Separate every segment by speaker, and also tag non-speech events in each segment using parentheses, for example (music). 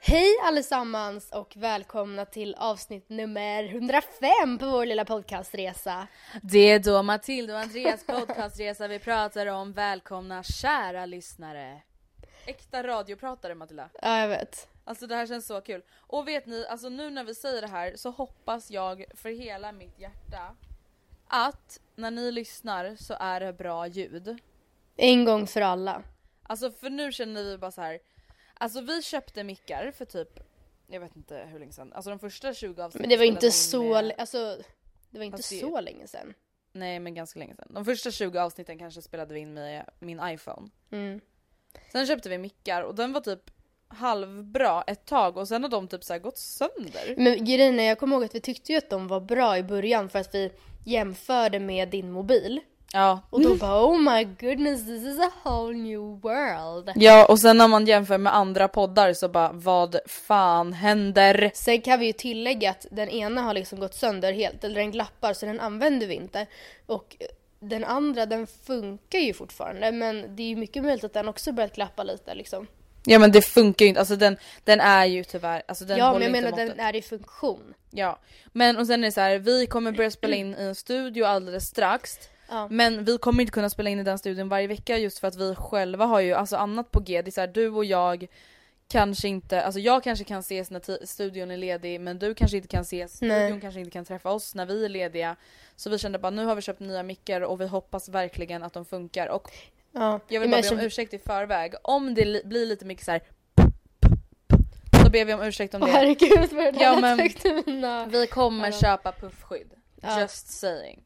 Speaker 1: Hej allesammans och välkomna till avsnitt nummer 105 på vår lilla podcastresa.
Speaker 2: Det är då Matilda och (laughs) Andreas podcastresa vi pratar om. Välkomna kära lyssnare. Äkta radiopratare Matilda.
Speaker 1: Ja, jag vet.
Speaker 2: Alltså det här känns så kul. Och vet ni, alltså nu när vi säger det här så hoppas jag för hela mitt hjärta att när ni lyssnar så är det bra ljud.
Speaker 1: En gång för alla.
Speaker 2: Alltså för nu känner vi bara så här. Alltså vi köpte mickar för typ, jag vet inte hur länge sedan. Alltså de första 20 avsnitten.
Speaker 1: Men det var
Speaker 2: spelade
Speaker 1: inte
Speaker 2: vi
Speaker 1: så,
Speaker 2: med-
Speaker 1: l- alltså, det var inte
Speaker 2: Fast det-
Speaker 1: så länge sedan.
Speaker 2: Nej men ganska länge sedan. De första 20 avsnitten kanske spelade vi in med min iPhone.
Speaker 1: Mm.
Speaker 2: Sen köpte vi mickar och den var typ halvbra ett tag och sen har de typ så här gått sönder.
Speaker 1: Men grejen är, jag kommer ihåg att vi tyckte ju att de var bra i början för att vi jämförde med din mobil.
Speaker 2: Ja.
Speaker 1: Och då bara oh my goodness this is a whole new world.
Speaker 2: Ja och sen när man jämför med andra poddar så bara vad fan händer?
Speaker 1: Sen kan vi ju tillägga att den ena har liksom gått sönder helt, eller den glappar så den använder vi inte. Och eh, den andra den funkar ju fortfarande men det är ju mycket möjligt att den också börjat glappa lite liksom.
Speaker 2: Ja men det funkar ju inte, alltså den, den är ju tyvärr, alltså den
Speaker 1: ja men
Speaker 2: håller
Speaker 1: jag
Speaker 2: inte
Speaker 1: menar
Speaker 2: måttet.
Speaker 1: den är i funktion.
Speaker 2: Ja. Men och sen är det så här, vi kommer börja spela in i en studio alldeles strax.
Speaker 1: Ja.
Speaker 2: Men vi kommer inte kunna spela in i den studion varje vecka just för att vi själva har ju alltså annat på g. Det är så här, du och jag kanske inte, alltså jag kanske kan ses när ti- studion är ledig men du kanske inte kan ses,
Speaker 1: Nej.
Speaker 2: studion kanske inte kan träffa oss när vi är lediga. Så vi kände bara nu har vi köpt nya mickar och vi hoppas verkligen att de funkar och
Speaker 1: Ja.
Speaker 2: jag
Speaker 1: Men
Speaker 2: vill bara be om
Speaker 1: kände-
Speaker 2: ursäkt i förväg. Om det li- blir lite mycket så här så ber vi om ursäkt om
Speaker 1: Åh,
Speaker 2: det.
Speaker 1: herregud vad det där
Speaker 2: Ja,
Speaker 1: lät (laughs)
Speaker 2: men-
Speaker 1: högt i mina...
Speaker 2: Vi kommer
Speaker 1: Ja.
Speaker 2: köpa puffskydd.
Speaker 1: Ja.
Speaker 2: Just saying.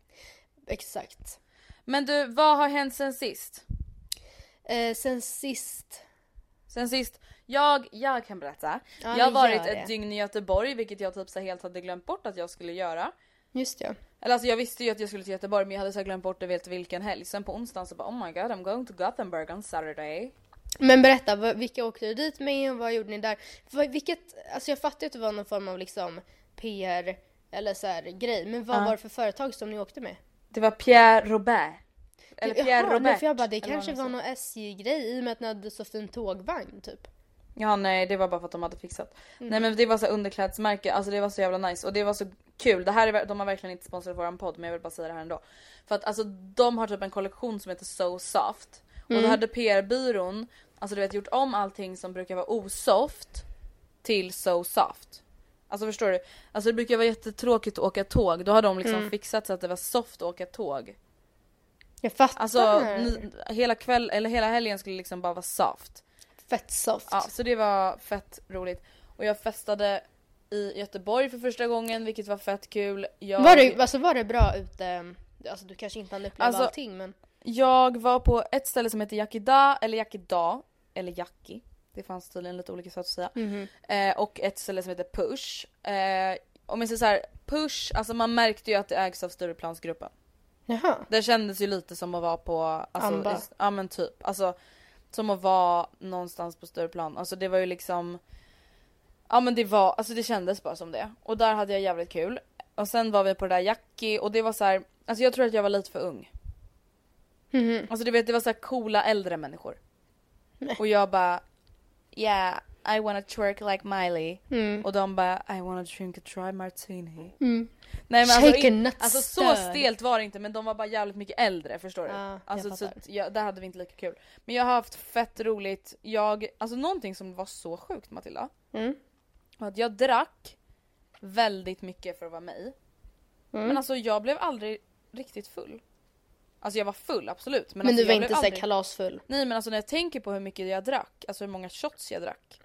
Speaker 1: Exakt.
Speaker 2: Men du, vad har hänt sen sist?
Speaker 1: Eh, sen sist.
Speaker 2: Sen sist, jag, jag kan berätta.
Speaker 1: Ja,
Speaker 2: jag har
Speaker 1: men
Speaker 2: varit
Speaker 1: gör
Speaker 2: ett
Speaker 1: det.
Speaker 2: dygn i Göteborg vilket jag typ så här helt hade glömt bort att jag skulle göra.
Speaker 1: Just ja.
Speaker 2: Eller alltså jag visste ju att jag skulle till Göteborg men jag hade så här glömt bort det vet vilken helg. Sen på onsdagen så bara oh my god I'm going to Gothenburg on Saturday.
Speaker 1: Men berätta, vad- vilka åkte du dit med och vad gjorde ni där? Vad- Vilket, alltså jag fattar ju att det var någon form av liksom PR eller så här grej, men vad var det för företag som ni åkte med?
Speaker 2: Det var Pierre Robert. Eller
Speaker 1: Jaha,
Speaker 2: Pierre Robert.
Speaker 1: nej, för jag bara, det
Speaker 2: eller vad
Speaker 1: kanske
Speaker 2: man
Speaker 1: var
Speaker 2: säger.
Speaker 1: någon SJ-grej i och med att ni hade så fin tågvagn typ.
Speaker 2: Ja nej det var bara för att de hade fixat. Nej men det var så här underklädsmärke, alltså det var så jävla nice och det var så kul. Det här är, ver- de har verkligen inte sponsrat våran podd men jag vill bara säga det här ändå. För att alltså de har typ en kollektion som heter So Soft. Och då hade PR-byrån, alltså du vet gjort om allting som brukar vara osoft till So Soft. Alltså förstår du? Alltså det brukar vara jättetråkigt att åka tåg, då har de liksom fixat så att det var soft att åka tåg.
Speaker 1: Jag fattar.
Speaker 2: Alltså ni, hela kväll, eller hela helgen skulle liksom bara vara soft.
Speaker 1: Fett soft.
Speaker 2: Ja, så det var fett roligt. Och jag festade i Göteborg för första gången vilket var fett kul. Jag,
Speaker 1: Var, det, alltså, var det bra ute? Alltså du kanske inte hann uppleva
Speaker 2: Alltså-
Speaker 1: allting men
Speaker 2: jag var på ett ställe som heter Yakida eller Yakida eller Yaki. Det fanns tydligen lite olika sätt att säga. Eh, och ett ställe som heter Push. Eh, om jag säger så här, Push, alltså man märkte ju att det ägs av Stureplansgruppen.
Speaker 1: Jaha.
Speaker 2: Det kändes ju lite som att vara på, alltså,
Speaker 1: Amba.
Speaker 2: i- ja men typ, alltså som att vara någonstans på Stureplan. Alltså det var ju liksom, ja men det var, alltså det kändes bara som det. Och där hade jag jävligt kul. Och sen var vi på det där Jackie och det var så här, alltså jag tror att jag var lite för ung. Alltså du vet det var så här coola äldre människor. Och jag bara, yeah I wanna twerk like Miley.
Speaker 1: Mm.
Speaker 2: Och de bara, I wanna drink a dry martini. Nej, men alltså,
Speaker 1: Shake
Speaker 2: in-
Speaker 1: a nut
Speaker 2: alltså så
Speaker 1: stirr.
Speaker 2: stelt var det inte men de var bara jävligt mycket äldre förstår du.
Speaker 1: Ja, jag
Speaker 2: alltså, så,
Speaker 1: fattar.
Speaker 2: att jag, där hade vi inte lika kul. Men jag har haft fett roligt. Jag, alltså någonting som var så sjukt Matilda.
Speaker 1: Mm.
Speaker 2: Var att jag drack väldigt mycket för att vara mig.
Speaker 1: Mm.
Speaker 2: Men alltså jag blev aldrig riktigt full. Alltså jag var full absolut.
Speaker 1: Men
Speaker 2: Men, alltså,
Speaker 1: du var
Speaker 2: jag blev
Speaker 1: inte såhär
Speaker 2: aldrig-
Speaker 1: kalasfull?
Speaker 2: Nej men alltså när jag tänker på hur mycket jag drack, alltså hur många shots jag drack.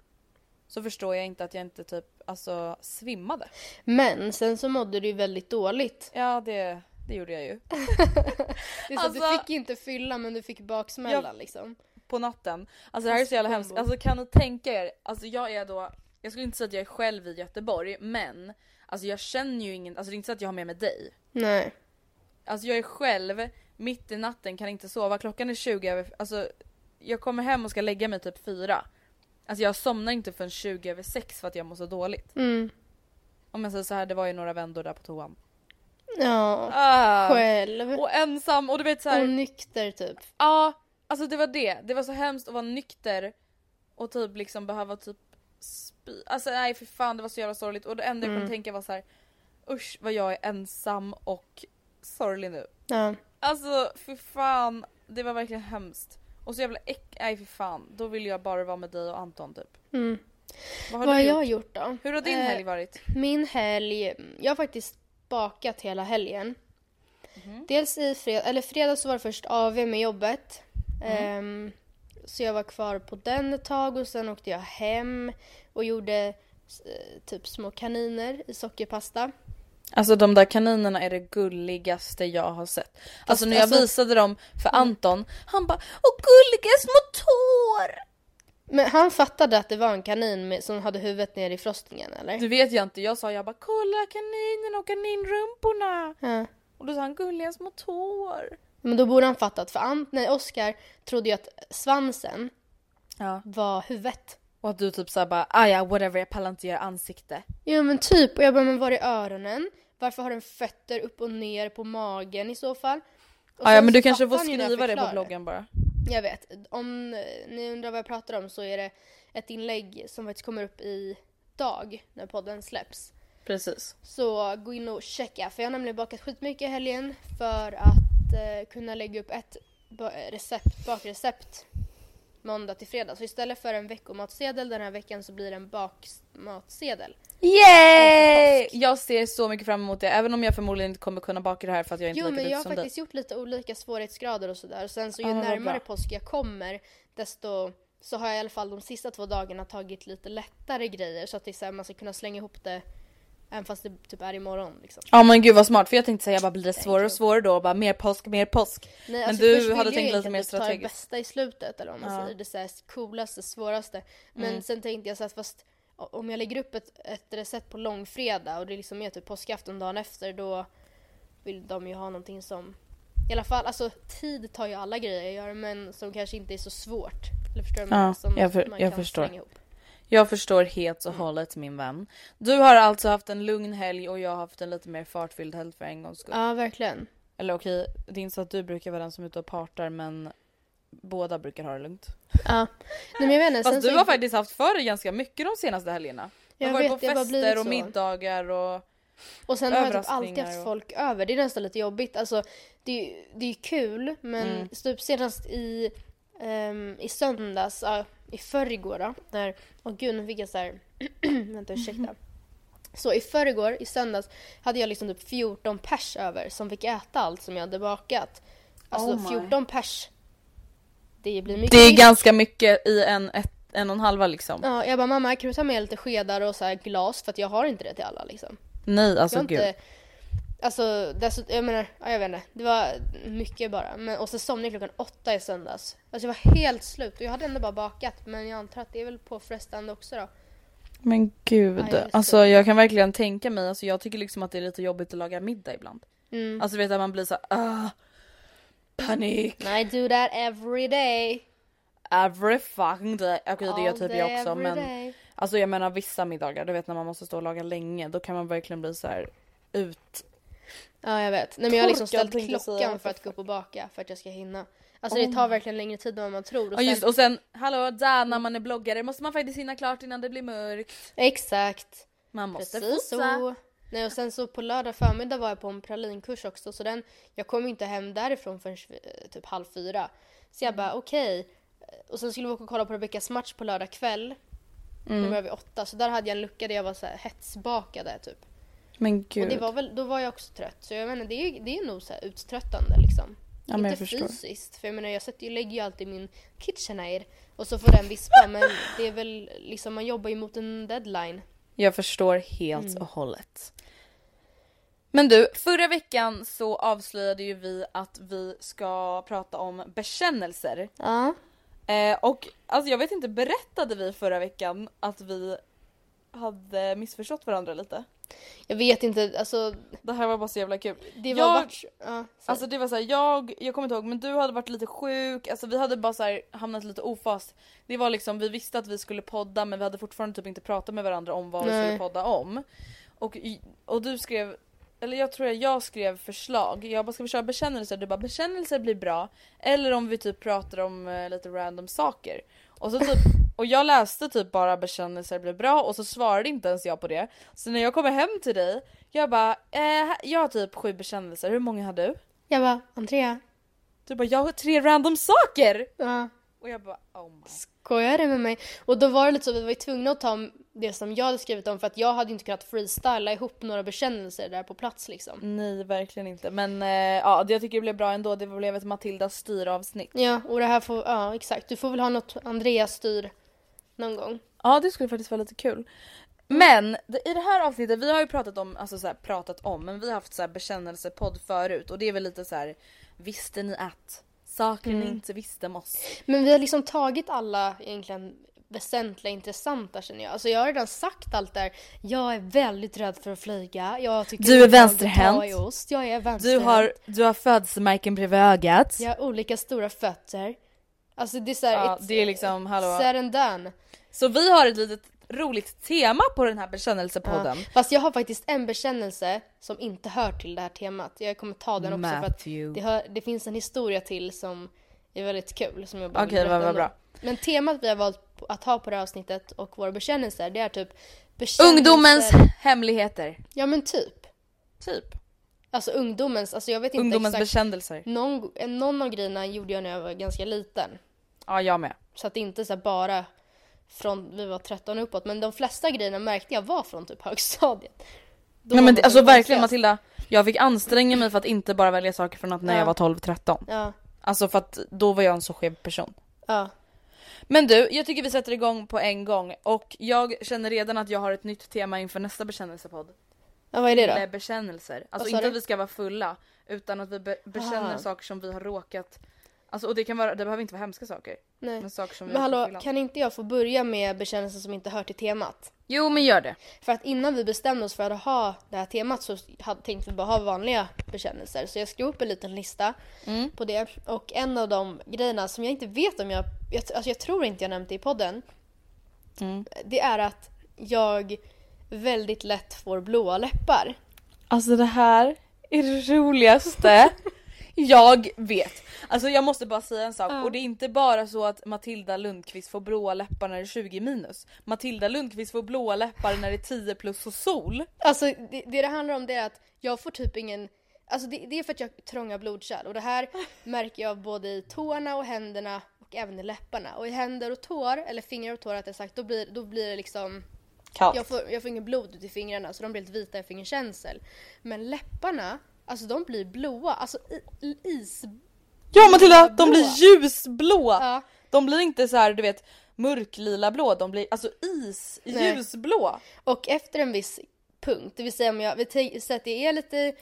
Speaker 2: Så förstår jag inte att jag inte typ, alltså svimmade.
Speaker 1: Men sen så mådde du ju väldigt dåligt.
Speaker 2: Ja det, det gjorde jag ju.
Speaker 1: Det är så att du
Speaker 2: Alltså-
Speaker 1: fick inte fylla men du fick baksmälla
Speaker 2: Jag-
Speaker 1: liksom.
Speaker 2: på natten. Alltså det här är så jävla hemskt. Alltså kan ni tänka er, alltså jag är då, jag skulle inte säga att jag är själv i Göteborg men alltså jag känner ju ingen, alltså det är inte så att jag har med mig dig.
Speaker 1: Nej.
Speaker 2: Alltså jag är själv, mitt i natten, kan inte sova, klockan är 20 över, alltså jag kommer hem och ska lägga mig typ fyra. Alltså jag somnar inte förrän 20 över sex för att jag mår så dåligt.
Speaker 1: Mm.
Speaker 2: Om jag säger så här, det var ju några vändor där på toan.
Speaker 1: Ja.
Speaker 2: Ah,
Speaker 1: Själv. Och,
Speaker 2: och ensam och du vet så här,
Speaker 1: nykter typ.
Speaker 2: Ja, alltså det var det. Det var så hemskt att vara nykter och typ liksom behöva typ spy. Alltså nej för fan det var så jävla sorgligt och det enda
Speaker 1: Mm.
Speaker 2: jag kunde tänka var så här. usch vad jag är ensam och sorglig nu.
Speaker 1: Ja.
Speaker 2: Alltså för fan, det var verkligen hemskt. Och så jävla äck, nej för fan. Då vill jag bara vara med dig och Anton typ.
Speaker 1: Mm.
Speaker 2: Vad har
Speaker 1: Vad har
Speaker 2: du
Speaker 1: jag
Speaker 2: gjort?
Speaker 1: gjort då?
Speaker 2: Hur har din
Speaker 1: Eh,
Speaker 2: helg varit?
Speaker 1: Min helg, jag har faktiskt bakat hela helgen. Dels i fred eller fredag så var det först AV med jobbet. Ehm, så jag var kvar på den ett tag och sen åkte jag hem och gjorde eh, typ små kaniner i sockerpasta.
Speaker 2: Alltså de där kaninerna är det gulligaste jag har sett. Alltså Mm. när jag
Speaker 1: alltså-
Speaker 2: visade dem för Anton, han bara Åh gulliga små tår!
Speaker 1: Men han fattade att det var en kanin med, som hade huvudet ner i frostingen eller?
Speaker 2: Du vet jag inte, jag sa jag bara kolla kaninen och kaninrumporna.
Speaker 1: Ja.
Speaker 2: Och då sa han gulliga små tår.
Speaker 1: Men då borde han fattat för Ant, nej Oscar trodde ju att svansen
Speaker 2: Ja.
Speaker 1: var huvudet.
Speaker 2: Och att du typ såhär bara ah ja whatever jag pallar inte göra ansikte.
Speaker 1: Ja men typ, och jag bara men var är öronen? Varför har den fötter upp och ner på magen i så fall? Och
Speaker 2: Ah, ja
Speaker 1: sen
Speaker 2: men
Speaker 1: så
Speaker 2: du kanske får
Speaker 1: fattar han ju när jag
Speaker 2: skriva det på
Speaker 1: förklarar
Speaker 2: bloggen bara.
Speaker 1: Jag vet, om eh, ni undrar vad jag pratar om så är det ett inlägg som faktiskt kommer upp i dag när podden släpps.
Speaker 2: Precis.
Speaker 1: Så gå in och checka, för jag har nämligen bakat skitmycket i helgen för att eh, kunna lägga upp ett ba- recept, bakrecept måndag till fredag. Så istället för en veckomatsedel den här veckan så blir det en bakmatsedel.
Speaker 2: Yay! Jag ser så mycket fram emot det även om jag förmodligen inte kommer kunna baka det här för att jag inte är
Speaker 1: Jo
Speaker 2: lika
Speaker 1: men jag
Speaker 2: duktig
Speaker 1: har
Speaker 2: som dig.
Speaker 1: faktiskt gjort lite olika svårighetsgrader och sådär. Och Sen så ju
Speaker 2: Ja, men vad
Speaker 1: närmare
Speaker 2: bra.
Speaker 1: påsk jag kommer desto så har jag i alla fall de sista två dagarna tagit lite lättare grejer så att det är så här, man ska kunna slänga ihop det även fast det typ är imorgon liksom.
Speaker 2: Ja men gud vad smart för jag tänkte säga jag bara blir det svårare och svårare då och bara mer påsk, mer påsk.
Speaker 1: Nej,
Speaker 2: men
Speaker 1: alltså, först
Speaker 2: du
Speaker 1: ville
Speaker 2: hade
Speaker 1: jag
Speaker 2: tänkt lite
Speaker 1: egentligen
Speaker 2: mer
Speaker 1: typ ta Det
Speaker 2: strategiskt.
Speaker 1: bästa i slutet eller vad man säger, det så här coolaste, svåraste. Men
Speaker 2: Mm.
Speaker 1: sen tänkte jag så att fast o- om jag lägger upp ett, ett recept på långfredag och det liksom är typ påskafton dagen efter då vill de ju ha någonting som i alla fall, alltså tid tar ju alla grejer jag gör men som kanske inte är så svårt. Eller förstår du? vad
Speaker 2: Ja,
Speaker 1: menar? som
Speaker 2: jag för-
Speaker 1: man
Speaker 2: jag
Speaker 1: kan
Speaker 2: förstår.
Speaker 1: slänga ihop.
Speaker 2: Jag förstår helt
Speaker 1: Mm.
Speaker 2: och hållet min vän. Du har alltså haft en lugn helg och jag har haft en lite mer fartfylld helg för en gångs skull.
Speaker 1: Ja, verkligen.
Speaker 2: Eller okej, det är inte så att du brukar vara den som är ute och partar men båda brukar ha det lugnt.
Speaker 1: Ja. Nej, men jag vet inte,
Speaker 2: Fast
Speaker 1: sen
Speaker 2: du
Speaker 1: så-
Speaker 2: har faktiskt haft för dig ganska mycket de senaste helgerna. Du har
Speaker 1: Jag
Speaker 2: varit
Speaker 1: vet,
Speaker 2: på
Speaker 1: det har bara blivit
Speaker 2: fester och
Speaker 1: så.
Speaker 2: middagar och...
Speaker 1: Och sen har jag typ alltid
Speaker 2: Överraskningar
Speaker 1: haft
Speaker 2: och-
Speaker 1: folk över. Det är nästan lite jobbigt. Alltså, det, är ju- det är ju kul, men
Speaker 2: Mm.
Speaker 1: typ senast i, ehm, i söndags, ja, i förrgår då, när, åh gud nu fick jag så här, (clears throat) vänta ursäkta. Så i förrgår, i söndags, hade jag liksom typ 14 pers över som fick äta allt som jag hade bakat. Alltså
Speaker 2: Oh my.
Speaker 1: 14 pers. Det blir mycket.
Speaker 2: Det är ganska mycket i en, ett, en och en halva liksom.
Speaker 1: Ja, jag bara mamma kan du ta med lite skedar och så här glas för att jag har inte det till alla liksom.
Speaker 2: Nej alltså
Speaker 1: jag har
Speaker 2: gud.
Speaker 1: inte, alltså dessut- jag menar, ja, jag vet inte. Det var mycket bara. Men, och så somnade jag klockan åtta i söndags. Alltså jag var helt slut och jag hade ändå bara bakat men jag antar att det är väl påfrestande också då.
Speaker 2: Men gud.
Speaker 1: Ja, just det.
Speaker 2: alltså jag kan verkligen tänka mig, alltså jag tycker liksom att det är lite jobbigt att laga middag ibland. Mm. Alltså du vet att man blir så här, ah, panik.
Speaker 1: And I do that every day.
Speaker 2: Every fucking day. Okej det gör
Speaker 1: All
Speaker 2: typ
Speaker 1: day,
Speaker 2: jag också
Speaker 1: every
Speaker 2: men
Speaker 1: day.
Speaker 2: alltså jag menar vissa middagar, du vet när man måste stå och laga länge då kan man verkligen bli så här ut.
Speaker 1: Ja jag vet. Nej men jag har liksom
Speaker 2: Torkad
Speaker 1: ställt
Speaker 2: tänkte jag säga,
Speaker 1: klockan
Speaker 2: what
Speaker 1: för
Speaker 2: the
Speaker 1: att gå upp och baka för att jag ska hinna. Alltså det tar verkligen längre tid än vad man tror.
Speaker 2: Ja just och sen hallå där när man är bloggare måste man faktiskt hinna klart innan det blir mörkt.
Speaker 1: Exakt.
Speaker 2: Man måste
Speaker 1: Precis så. Nej, och sen så på lördag förmiddag var jag på en pralinkurs också så den, jag kom ju inte hem därifrån förrän eh, typ halv fyra. Så
Speaker 2: Mm.
Speaker 1: jag bara okej. Eh, Och sen skulle vi åka och kolla på Rebeckas match på lördag kväll.
Speaker 2: Mm.
Speaker 1: Nu börjar vi åtta så där hade jag en lucka där jag var så här hetsbakade typ.
Speaker 2: Men gud.
Speaker 1: Och det var väl, då var jag också trött så jag menar det är, ju- det är nog så här uttröttande liksom.
Speaker 2: Ja, men
Speaker 1: inte
Speaker 2: jag förstår.
Speaker 1: fysiskt för jag menar jag sätter ju, lägger ju alltid min KitchenAid och så får den vispa men det är väl liksom man jobbar ju mot en deadline.
Speaker 2: Jag förstår helt
Speaker 1: Mm.
Speaker 2: och hållet. Men du, förra veckan så avslöjade ju vi att vi ska prata om bekännelser.
Speaker 1: Ja.
Speaker 2: Eh, och alltså jag vet inte, berättade vi förra veckan att vi hade missförstått varandra lite?
Speaker 1: Jag vet inte, alltså
Speaker 2: Det här var bara så jävla kul.
Speaker 1: det var
Speaker 2: jag,
Speaker 1: vart... Ja, så-
Speaker 2: Alltså det var såhär, jag, jag kommer inte ihåg men du hade varit lite sjuk, alltså vi hade bara så här hamnat lite ofast. Det var liksom, vi visste att vi skulle podda men vi hade fortfarande typ inte pratat med varandra om vad vi
Speaker 1: Nej.
Speaker 2: skulle podda om. Och, i- och du skrev, eller jag tror att jag skrev förslag, jag bara ska vi köra bekännelser? Du bara bekännelser blir bra, eller om vi typ pratar om eh, lite random saker. Och,
Speaker 1: (laughs)
Speaker 2: så typ, och jag läste typ bara bekännelser blir bra och så svarade inte ens jag på det. Så när jag kommer hem till dig, jag bara, eh, jag har typ sju bekännelser, hur många har du?
Speaker 1: jag bara, Andrea,
Speaker 2: Du bara jag har tre random saker!
Speaker 1: ja,
Speaker 2: Och jag bara oh my.
Speaker 1: skojar du med mig? Och då var det lite så, vi var ju tvungna att ta det som jag hade skrivit om för att jag hade inte kunnat freestyla ihop några bekännelser där på plats liksom.
Speaker 2: Nej verkligen inte men eh, ja det jag tycker det blev bra ändå det blev ett Matilda styravsnitt.
Speaker 1: Ja, och det här får, ja exakt, du får väl ha något Andreas styr någon gång.
Speaker 2: Ja det skulle faktiskt vara lite kul. Men det, i det här avsnittet, vi har ju pratat om, alltså så här, pratat om, men vi har haft så här bekännelsepodd förut och det är väl lite så här visste ni att? Saker ni inte visste om oss.
Speaker 1: Men vi har liksom tagit alla egentligen väsentliga intressanta känner jag. Alltså jag har redan sagt allt där. Jag är väldigt rädd för att flyga. Jag tycker
Speaker 2: Du är
Speaker 1: inte om att
Speaker 2: vänsterhänt.
Speaker 1: dra i ost. Jag är
Speaker 2: Du
Speaker 1: vänsterhänt.
Speaker 2: har, du har födelsemärken bredvid ögat.
Speaker 1: Jag har olika stora fötter. Alltså det är såhär,
Speaker 2: Ja, det är liksom, hallå.
Speaker 1: said and done.
Speaker 2: Så vi har ett litet roligt tema på den här bekännelsepodden.
Speaker 1: Fast jag har faktiskt en bekännelse som inte hör till det här temat. Jag kommer ta den också för att
Speaker 2: Matthew.
Speaker 1: det, hör, det finns en historia till som är väldigt kul som jag bara vill
Speaker 2: Okej, vad-
Speaker 1: berätta
Speaker 2: vad
Speaker 1: ändå.
Speaker 2: bra.
Speaker 1: Men temat vi har valt att ha på det här avsnittet och våra bekännelser det är typ bekännelser-
Speaker 2: Ungdomens hemligheter.
Speaker 1: Ja men typ.
Speaker 2: Typ.
Speaker 1: Alltså ungdomens, alltså jag vet inte
Speaker 2: Ungdomens
Speaker 1: exakt.
Speaker 2: bekännelser.
Speaker 1: Någon, någon av grejerna gjorde jag när jag var ganska liten.
Speaker 2: Ja, jag med.
Speaker 1: Så att det inte så här bara från vi var 13 och uppåt. Men de flesta grejerna märkte jag var från typ högstadiet. Då
Speaker 2: Nej,
Speaker 1: var
Speaker 2: men
Speaker 1: det
Speaker 2: det, alltså
Speaker 1: som
Speaker 2: verkligen
Speaker 1: konstigast.
Speaker 2: Matilda, jag fick anstränga mig för att inte bara välja saker från att när
Speaker 1: Ja.
Speaker 2: jag var 12-13.
Speaker 1: Ja,
Speaker 2: Alltså för att då var jag en så skev person.
Speaker 1: ja.
Speaker 2: Men du, jag tycker vi sätter igång på en gång och jag känner redan att jag har ett nytt tema inför nästa bekännelsepodd.
Speaker 1: ja vad är det
Speaker 2: Med
Speaker 1: då?
Speaker 2: bekännelser.
Speaker 1: Vad
Speaker 2: Alltså
Speaker 1: sa
Speaker 2: inte
Speaker 1: du?
Speaker 2: att vi ska vara fulla utan att vi be- bekänner
Speaker 1: Ah.
Speaker 2: saker som vi har råkat Alltså och det kan vara, det behöver inte vara hemska saker.
Speaker 1: Nej.
Speaker 2: Men saker som vi
Speaker 1: Men
Speaker 2: har
Speaker 1: hallå,
Speaker 2: fyllan.
Speaker 1: kan inte jag få börja med bekännelser som inte hör till temat?
Speaker 2: Jo men gör det.
Speaker 1: För att innan vi bestämde oss för att ha det här temat så hade, tänkte vi bara ha vanliga bekännelser. Så jag skrev upp en liten lista
Speaker 2: Mm.
Speaker 1: på det. Och en av de grejerna som jag inte vet om jag... jag alltså jag tror inte jag nämnt det i podden.
Speaker 2: Mm.
Speaker 1: Det är att jag väldigt lätt får blåa läppar.
Speaker 2: Alltså det här är det roligaste
Speaker 1: (laughs)
Speaker 2: jag vet. Alltså jag måste bara säga en sak och det är inte bara så att Matilda Lundqvist får blåa läppar när det är 20 minus. Matilda Lundqvist får blåa läppar när det är 10 plus och sol.
Speaker 1: Alltså det, det det handlar om det är att jag får typ ingen Alltså det, det är för att jag har trånga blodkärl och det här märker jag både i tårna och händerna och även i läpparna. Och i händer och tår, eller fingrar och tår rättare sagt, då blir, då blir det liksom
Speaker 2: Kallt.
Speaker 1: jag får, jag får ingen blod ut i fingrarna så de blir lite vita i fingerkänsel. Men läpparna, alltså de blir blåa, alltså i, i, is...
Speaker 2: Ja Matilda, de blir
Speaker 1: Blå.
Speaker 2: ljusblå!
Speaker 1: Ja.
Speaker 2: De blir inte så här, du vet mörklila blå, de blir alltså is,
Speaker 1: Nej.
Speaker 2: ljusblå.
Speaker 1: Och efter en viss punkt, det vill säga om jag, vi tän- så att det är lite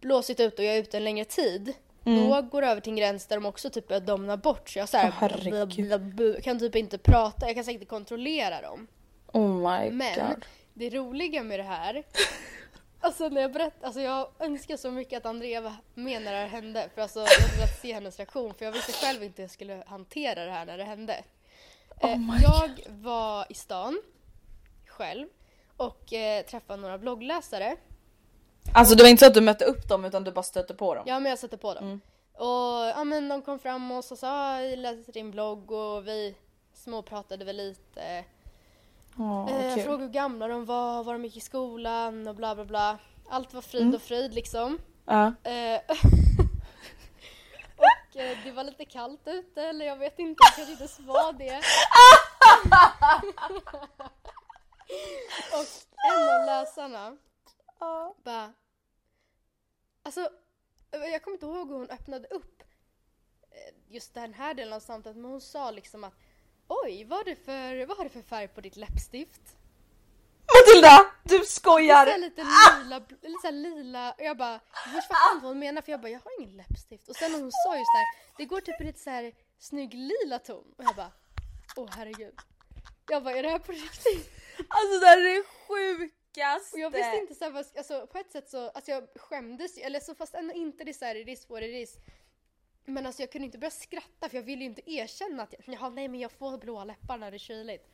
Speaker 1: blåsigt ute och jag är ute en längre tid. Då går det över till en gräns där de också typ börjar domna bort. Så jag så här,
Speaker 2: Åh, herregud.
Speaker 1: bla, bla, bla, kan typ inte prata, jag kan säkert inte kontrollera dem.
Speaker 2: Oh my
Speaker 1: Men
Speaker 2: god.
Speaker 1: det roliga med det här, (laughs) alltså när jag berättar, alltså jag önskar så mycket att Andrea var med när det här hände. För alltså jag hade velat se hennes reaktion för jag visste själv inte hur jag skulle hantera det här när det hände. Eh, jag var i stan själv och eh, träffade några bloggläsare.
Speaker 2: Alltså det var inte så att du mötte upp dem utan du bara stötte på dem.
Speaker 1: Ja men jag satte på dem. Och ja, men de kom fram och så sa ah, jag läste din blogg och vi småpratade väl lite.
Speaker 2: Åh,
Speaker 1: Eh, Jag
Speaker 2: kul.
Speaker 1: frågade hur gamla de var, var de gick i skolan och bla bla bla. Allt var frid och fröjd liksom.
Speaker 2: Ja.
Speaker 1: Eh, och eh, det var lite kallt ute, eller jag vet inte, det kanske inte ens var det. och en av läsarna bara... Alltså, jag kommer inte ihåg hur hon öppnade upp eh, just den här delen av samtalet, men hon sa liksom att Oj, vad har du för, vad har du för färg på ditt läppstift?
Speaker 2: Matilda! Du
Speaker 1: så här
Speaker 2: skojar!
Speaker 1: lite lila, lite så här lila och jag bara först fattade jag inte vad hon menar för jag bara jag har ingen läppstift och sen när hon sa just det här, det går typ i lite så här snygg lila ton och jag bara åh herregud. Jag bara är det här på riktigt?
Speaker 2: Alltså det här är det sjukaste!
Speaker 1: Och jag visste inte så här, vad, alltså på ett sätt så, alltså jag skämdes ju, eller så fast ändå inte det är så här it is what it is. Men alltså jag kunde inte börja skratta för jag ville ju inte erkänna att jag, jaha nej men jag får blåa läppar när det är kyligt.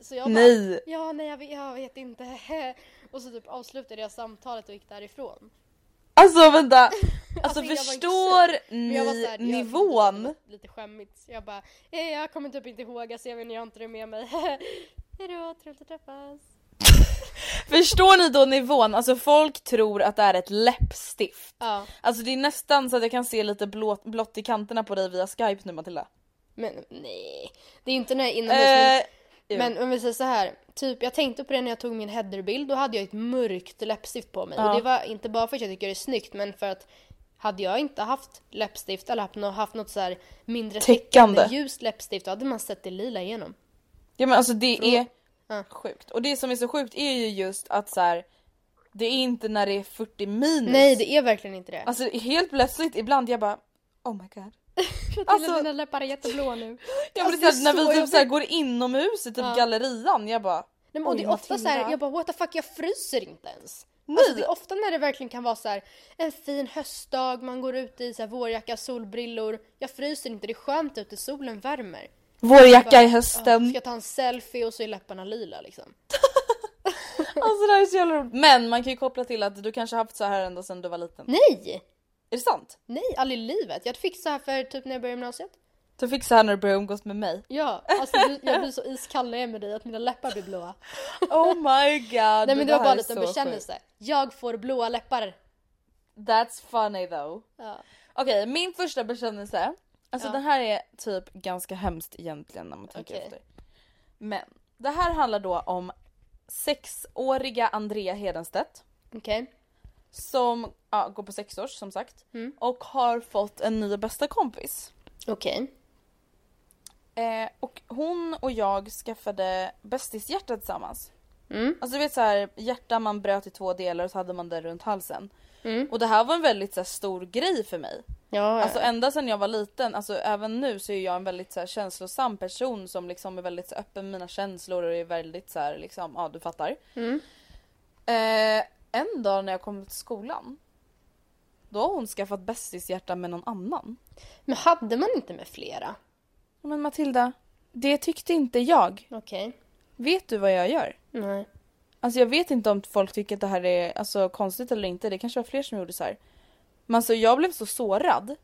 Speaker 1: Så jag bara,
Speaker 2: Nej!
Speaker 1: Ja, nej jag vet, jag vet inte. (laughs) Och så typ avslutade jag samtalet och gick därifrån.
Speaker 2: Alltså vänta!
Speaker 1: (laughs) Alltså,
Speaker 2: Alltså
Speaker 1: jag var inte
Speaker 2: förstår
Speaker 1: Men jag var
Speaker 2: ni
Speaker 1: så här, jag-
Speaker 2: nivån?
Speaker 1: Lite skämmigt. Så jag bara, eh, jag kommer typ inte ihåg, jag ser när jag inte är med mig. (laughs) Hejdå, trevligt att träffas.
Speaker 2: Förstår ni då nivån? Alltså folk tror att det är ett läppstift.
Speaker 1: Ja,
Speaker 2: Alltså det är nästan så att jag kan se lite blå, blått i kanterna på dig via skype nu Matilda.
Speaker 1: men nej. Det är ju inte när jag är inomhus. men-
Speaker 2: Eh, jo.
Speaker 1: men om vi säger så här, typ jag tänkte på det när jag tog min headerbild, då hade jag ett mörkt läppstift på mig. Och det var inte bara för att jag tycker det är snyggt, men för att hade jag inte haft läppstift eller haft något, haft något så här mindre
Speaker 2: Täckande.
Speaker 1: täckande ljust läppstift, då hade man sett det lila igenom.
Speaker 2: Ja men alltså det är
Speaker 1: Ja.
Speaker 2: sjukt. Och det som är så sjukt är ju just att så här. det är inte när det är 40 minus.
Speaker 1: Nej, det är verkligen inte det.
Speaker 2: Alltså helt plötsligt ibland jag bara oh my god.
Speaker 1: Alltså,
Speaker 2: alltså-
Speaker 1: mina läppar är jätteblå nu.
Speaker 2: (laughs) Ja, men
Speaker 1: Alltså,
Speaker 2: det är så här,
Speaker 1: så
Speaker 2: när vi
Speaker 1: jag
Speaker 2: typ så här går inomhus i typ gallerian jag bara
Speaker 1: Nej, men, och det är
Speaker 2: "Oj,
Speaker 1: ofta så här,
Speaker 2: Matilda."
Speaker 1: jag bara what the fuck, jag fryser inte ens.
Speaker 2: Nej.
Speaker 1: Alltså, det är ofta när det verkligen kan vara så här en fin höstdag, man går ute i så här vårjacka, solbrillor. Jag fryser inte, det är skönt ute, solen värmer.
Speaker 2: Vår jacka i
Speaker 1: Ja,
Speaker 2: hösten.
Speaker 1: ska jag ta en selfie och så är läpparna lila liksom.
Speaker 2: Alltså det här är så jävla roligt. Men man kan ju koppla till att du kanske har haft så här ända sedan du var liten.
Speaker 1: Nej!
Speaker 2: Är det sant?
Speaker 1: Nej, aldrig i livet. Jag fick så här för typ när jag började gymnasiet.
Speaker 2: Du fick så här när du började umgås med mig.
Speaker 1: Ja, alltså du, jag blir så iskall när jag är med dig att mina läppar blir blåa. (laughs)
Speaker 2: Oh my god.
Speaker 1: Nej men det var
Speaker 2: här
Speaker 1: bara
Speaker 2: är
Speaker 1: lite en
Speaker 2: så
Speaker 1: bekännelse. Jag får blåa läppar.
Speaker 2: sjukt. That's funny though.
Speaker 1: Ja.
Speaker 2: Okej, min första bekännelse. Alltså den här är typ ganska hemskt egentligen när man tänker
Speaker 1: Okej.
Speaker 2: efter. Men det här handlar då om sexåriga Andrea Hedenstedt.
Speaker 1: Okej.
Speaker 2: Som ja, går på sexårs som sagt.
Speaker 1: Mm.
Speaker 2: Och har fått en ny bästa kompis.
Speaker 1: Okej.
Speaker 2: Eh, och hon och jag skaffade bästishjärta tillsammans.
Speaker 1: Mm.
Speaker 2: Alltså du vet så här, hjärta man bröt i två delar och så hade man det runt halsen. Och det här var en väldigt så här, stor grej för mig.
Speaker 1: Mm. Ja,
Speaker 2: Alltså ända sedan jag var liten, alltså även nu så är jag en väldigt så här, känslosam person som liksom är väldigt så här, öppen med mina känslor och är väldigt så här, liksom, ja du fattar.
Speaker 1: Mm.
Speaker 2: Eh, en dag när jag kom till skolan. Då har hon skaffat bästishjärta med någon annan.
Speaker 1: Men hade man inte med flera?
Speaker 2: Men Matilda, det tyckte inte jag.
Speaker 1: Okej.
Speaker 2: Vet du vad jag gör?
Speaker 1: Nej.
Speaker 2: Alltså jag vet inte om folk tycker att det här är alltså, konstigt eller inte. Det kanske var fler som gjorde så här. Men alltså jag blev så sårad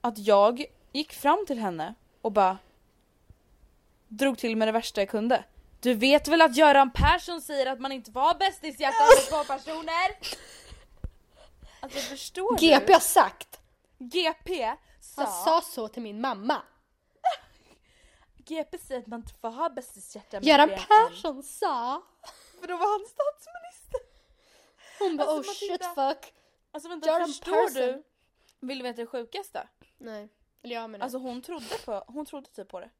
Speaker 2: att jag gick fram till henne och bara drog till med det värsta jag kunde. Du vet väl att Göran Persson säger att man inte får ha bästishjärtan med två personer? Alltså förstår
Speaker 1: GP har sagt.
Speaker 2: du? GP sa,
Speaker 1: Han sa så till min mamma.
Speaker 2: GP säger att man inte får ha bästishjärtan med
Speaker 1: Göran
Speaker 2: fler än en.
Speaker 1: Persson sa.
Speaker 2: För då var han statsminister.
Speaker 1: Hon bara
Speaker 2: Alltså,
Speaker 1: oh shit
Speaker 2: Matilda."
Speaker 1: fuck.
Speaker 2: Alltså vänta,
Speaker 1: Göran
Speaker 2: förstår
Speaker 1: Persson.
Speaker 2: du? Alltså Vill du veta det sjukaste?
Speaker 1: Nej. Eller jag menar.
Speaker 2: Alltså hon trodde, på, hon trodde typ på det.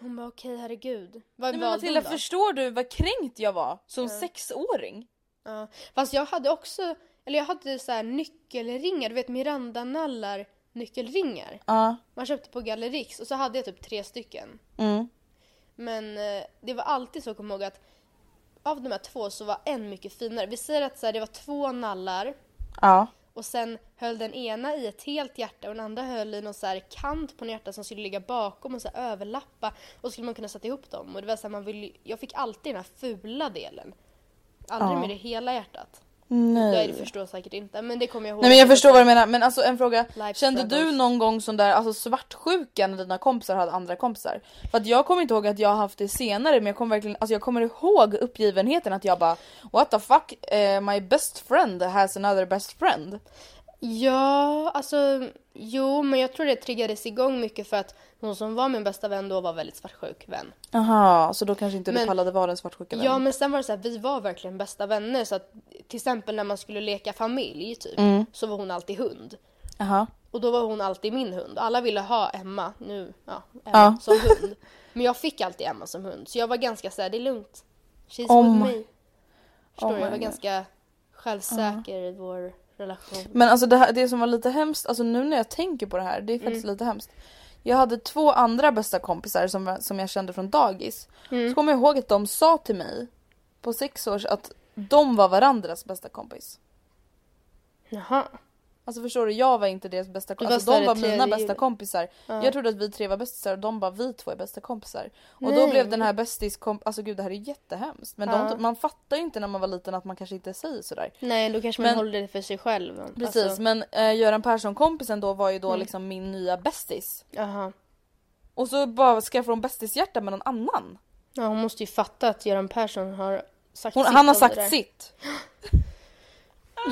Speaker 1: Hon bara okej herregud. Vad
Speaker 2: Nej, men
Speaker 1: valde hon
Speaker 2: Matilda
Speaker 1: då?
Speaker 2: förstår du vad kränkt jag var som sexåring?
Speaker 1: Ja. Fast jag hade också, eller jag hade så här nyckelringar, du vet Miranda-nallar nyckelringar.
Speaker 2: Ja.
Speaker 1: Man köpte på Gallerix och så hade jag typ tre stycken.
Speaker 2: Mm.
Speaker 1: Men eh, det var alltid så, kom ihåg att av de här två så var en mycket finare. Vi säger att så här, det var två nallar
Speaker 2: Ja.
Speaker 1: och sen höll den ena i ett helt hjärta och den andra höll i någon så här kant på en hjärta som skulle ligga bakom och så här överlappa och så skulle man kunna sätta ihop dem. Och det var så här, man vill, ju- jag fick alltid den här fula delen. Aldrig med det hela hjärtat. Nej. Det förstår jag säkert inte men det kommer jag ihåg.
Speaker 2: Nej men jag förstår vad du menar, men alltså en fråga.
Speaker 1: Life
Speaker 2: Kände du
Speaker 1: struggles.
Speaker 2: någon gång sån där alltså, svartsjuka när dina kompisar hade andra kompisar? För att jag kommer inte ihåg att jag har haft det senare men jag kommer verkligen, alltså jag kommer ihåg uppgivenheten att jag bara What the fuck, eh, my best friend has another best friend.
Speaker 1: Ja, alltså jo men jag tror det triggades igång mycket för att hon som var min bästa vän då var väldigt svartsjuk vän.
Speaker 2: Aha, så då kanske inte du
Speaker 1: Men-
Speaker 2: pallade vara den svartsjuka
Speaker 1: Ja
Speaker 2: vännen?
Speaker 1: men sen var det så här, vi var verkligen bästa vänner så att till exempel när man skulle leka familj typ
Speaker 2: Mm.
Speaker 1: så var hon alltid hund.
Speaker 2: Aha.
Speaker 1: Och då var hon alltid min hund. Alla ville ha Emma, nu, ja, Emma som hund. Men jag fick alltid Emma som hund så jag var ganska såhär, det är lugnt. She's
Speaker 2: Oh
Speaker 1: with
Speaker 2: my-
Speaker 1: me. Förstår
Speaker 2: Oh
Speaker 1: du? Jag
Speaker 2: my
Speaker 1: var
Speaker 2: God.
Speaker 1: ganska självsäker i vår relation.
Speaker 2: Men alltså det, här, det som var lite hemskt, alltså nu när jag tänker på det här, det är faktiskt lite hemskt. Jag hade två andra bästa kompisar som, var- som jag kände från dagis. Så kommer jag ihåg att de sa till mig på sex års att de var varandras bästa kompis.
Speaker 1: Jaha.
Speaker 2: Alltså förstår du, jag var inte deras bästa
Speaker 1: Du var
Speaker 2: kompis. Alltså, de
Speaker 1: större
Speaker 2: var mina
Speaker 1: tredje-
Speaker 2: bästa kompisar. Jag trodde att vi tre var bästisar och de bara vi två är bästa kompisar. Och då blev den här bästis kom... alltså gud det här är jättehemskt. Men de, man fattar ju inte när man var liten att man kanske inte säger sådär.
Speaker 1: Nej då kanske man
Speaker 2: Men-
Speaker 1: håller det för sig själv.
Speaker 2: Precis
Speaker 1: Alltså, Mm.
Speaker 2: men eh, Göran Persson kompisen då var ju då liksom min nya bästis.
Speaker 1: Jaha.
Speaker 2: Och så bara skaffar hon bästishjärta med någon annan.
Speaker 1: Ja, hon måste ju fatta att Göran Persson har sagt
Speaker 2: Hon,
Speaker 1: sitt
Speaker 2: han har
Speaker 1: om det där.
Speaker 2: sagt sitt.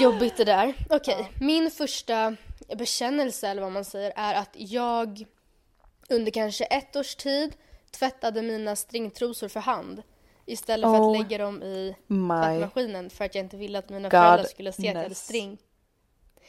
Speaker 1: Jobbigt det där. Okej, min första bekännelse eller vad man säger är att jag under kanske ett års tid tvättade mina stringtrosor för hand istället för
Speaker 2: Oh
Speaker 1: att lägga dem i
Speaker 2: my
Speaker 1: tvättmaskinen för att jag inte ville att mina föräldrar skulle se att jag hade
Speaker 2: Godness.
Speaker 1: string.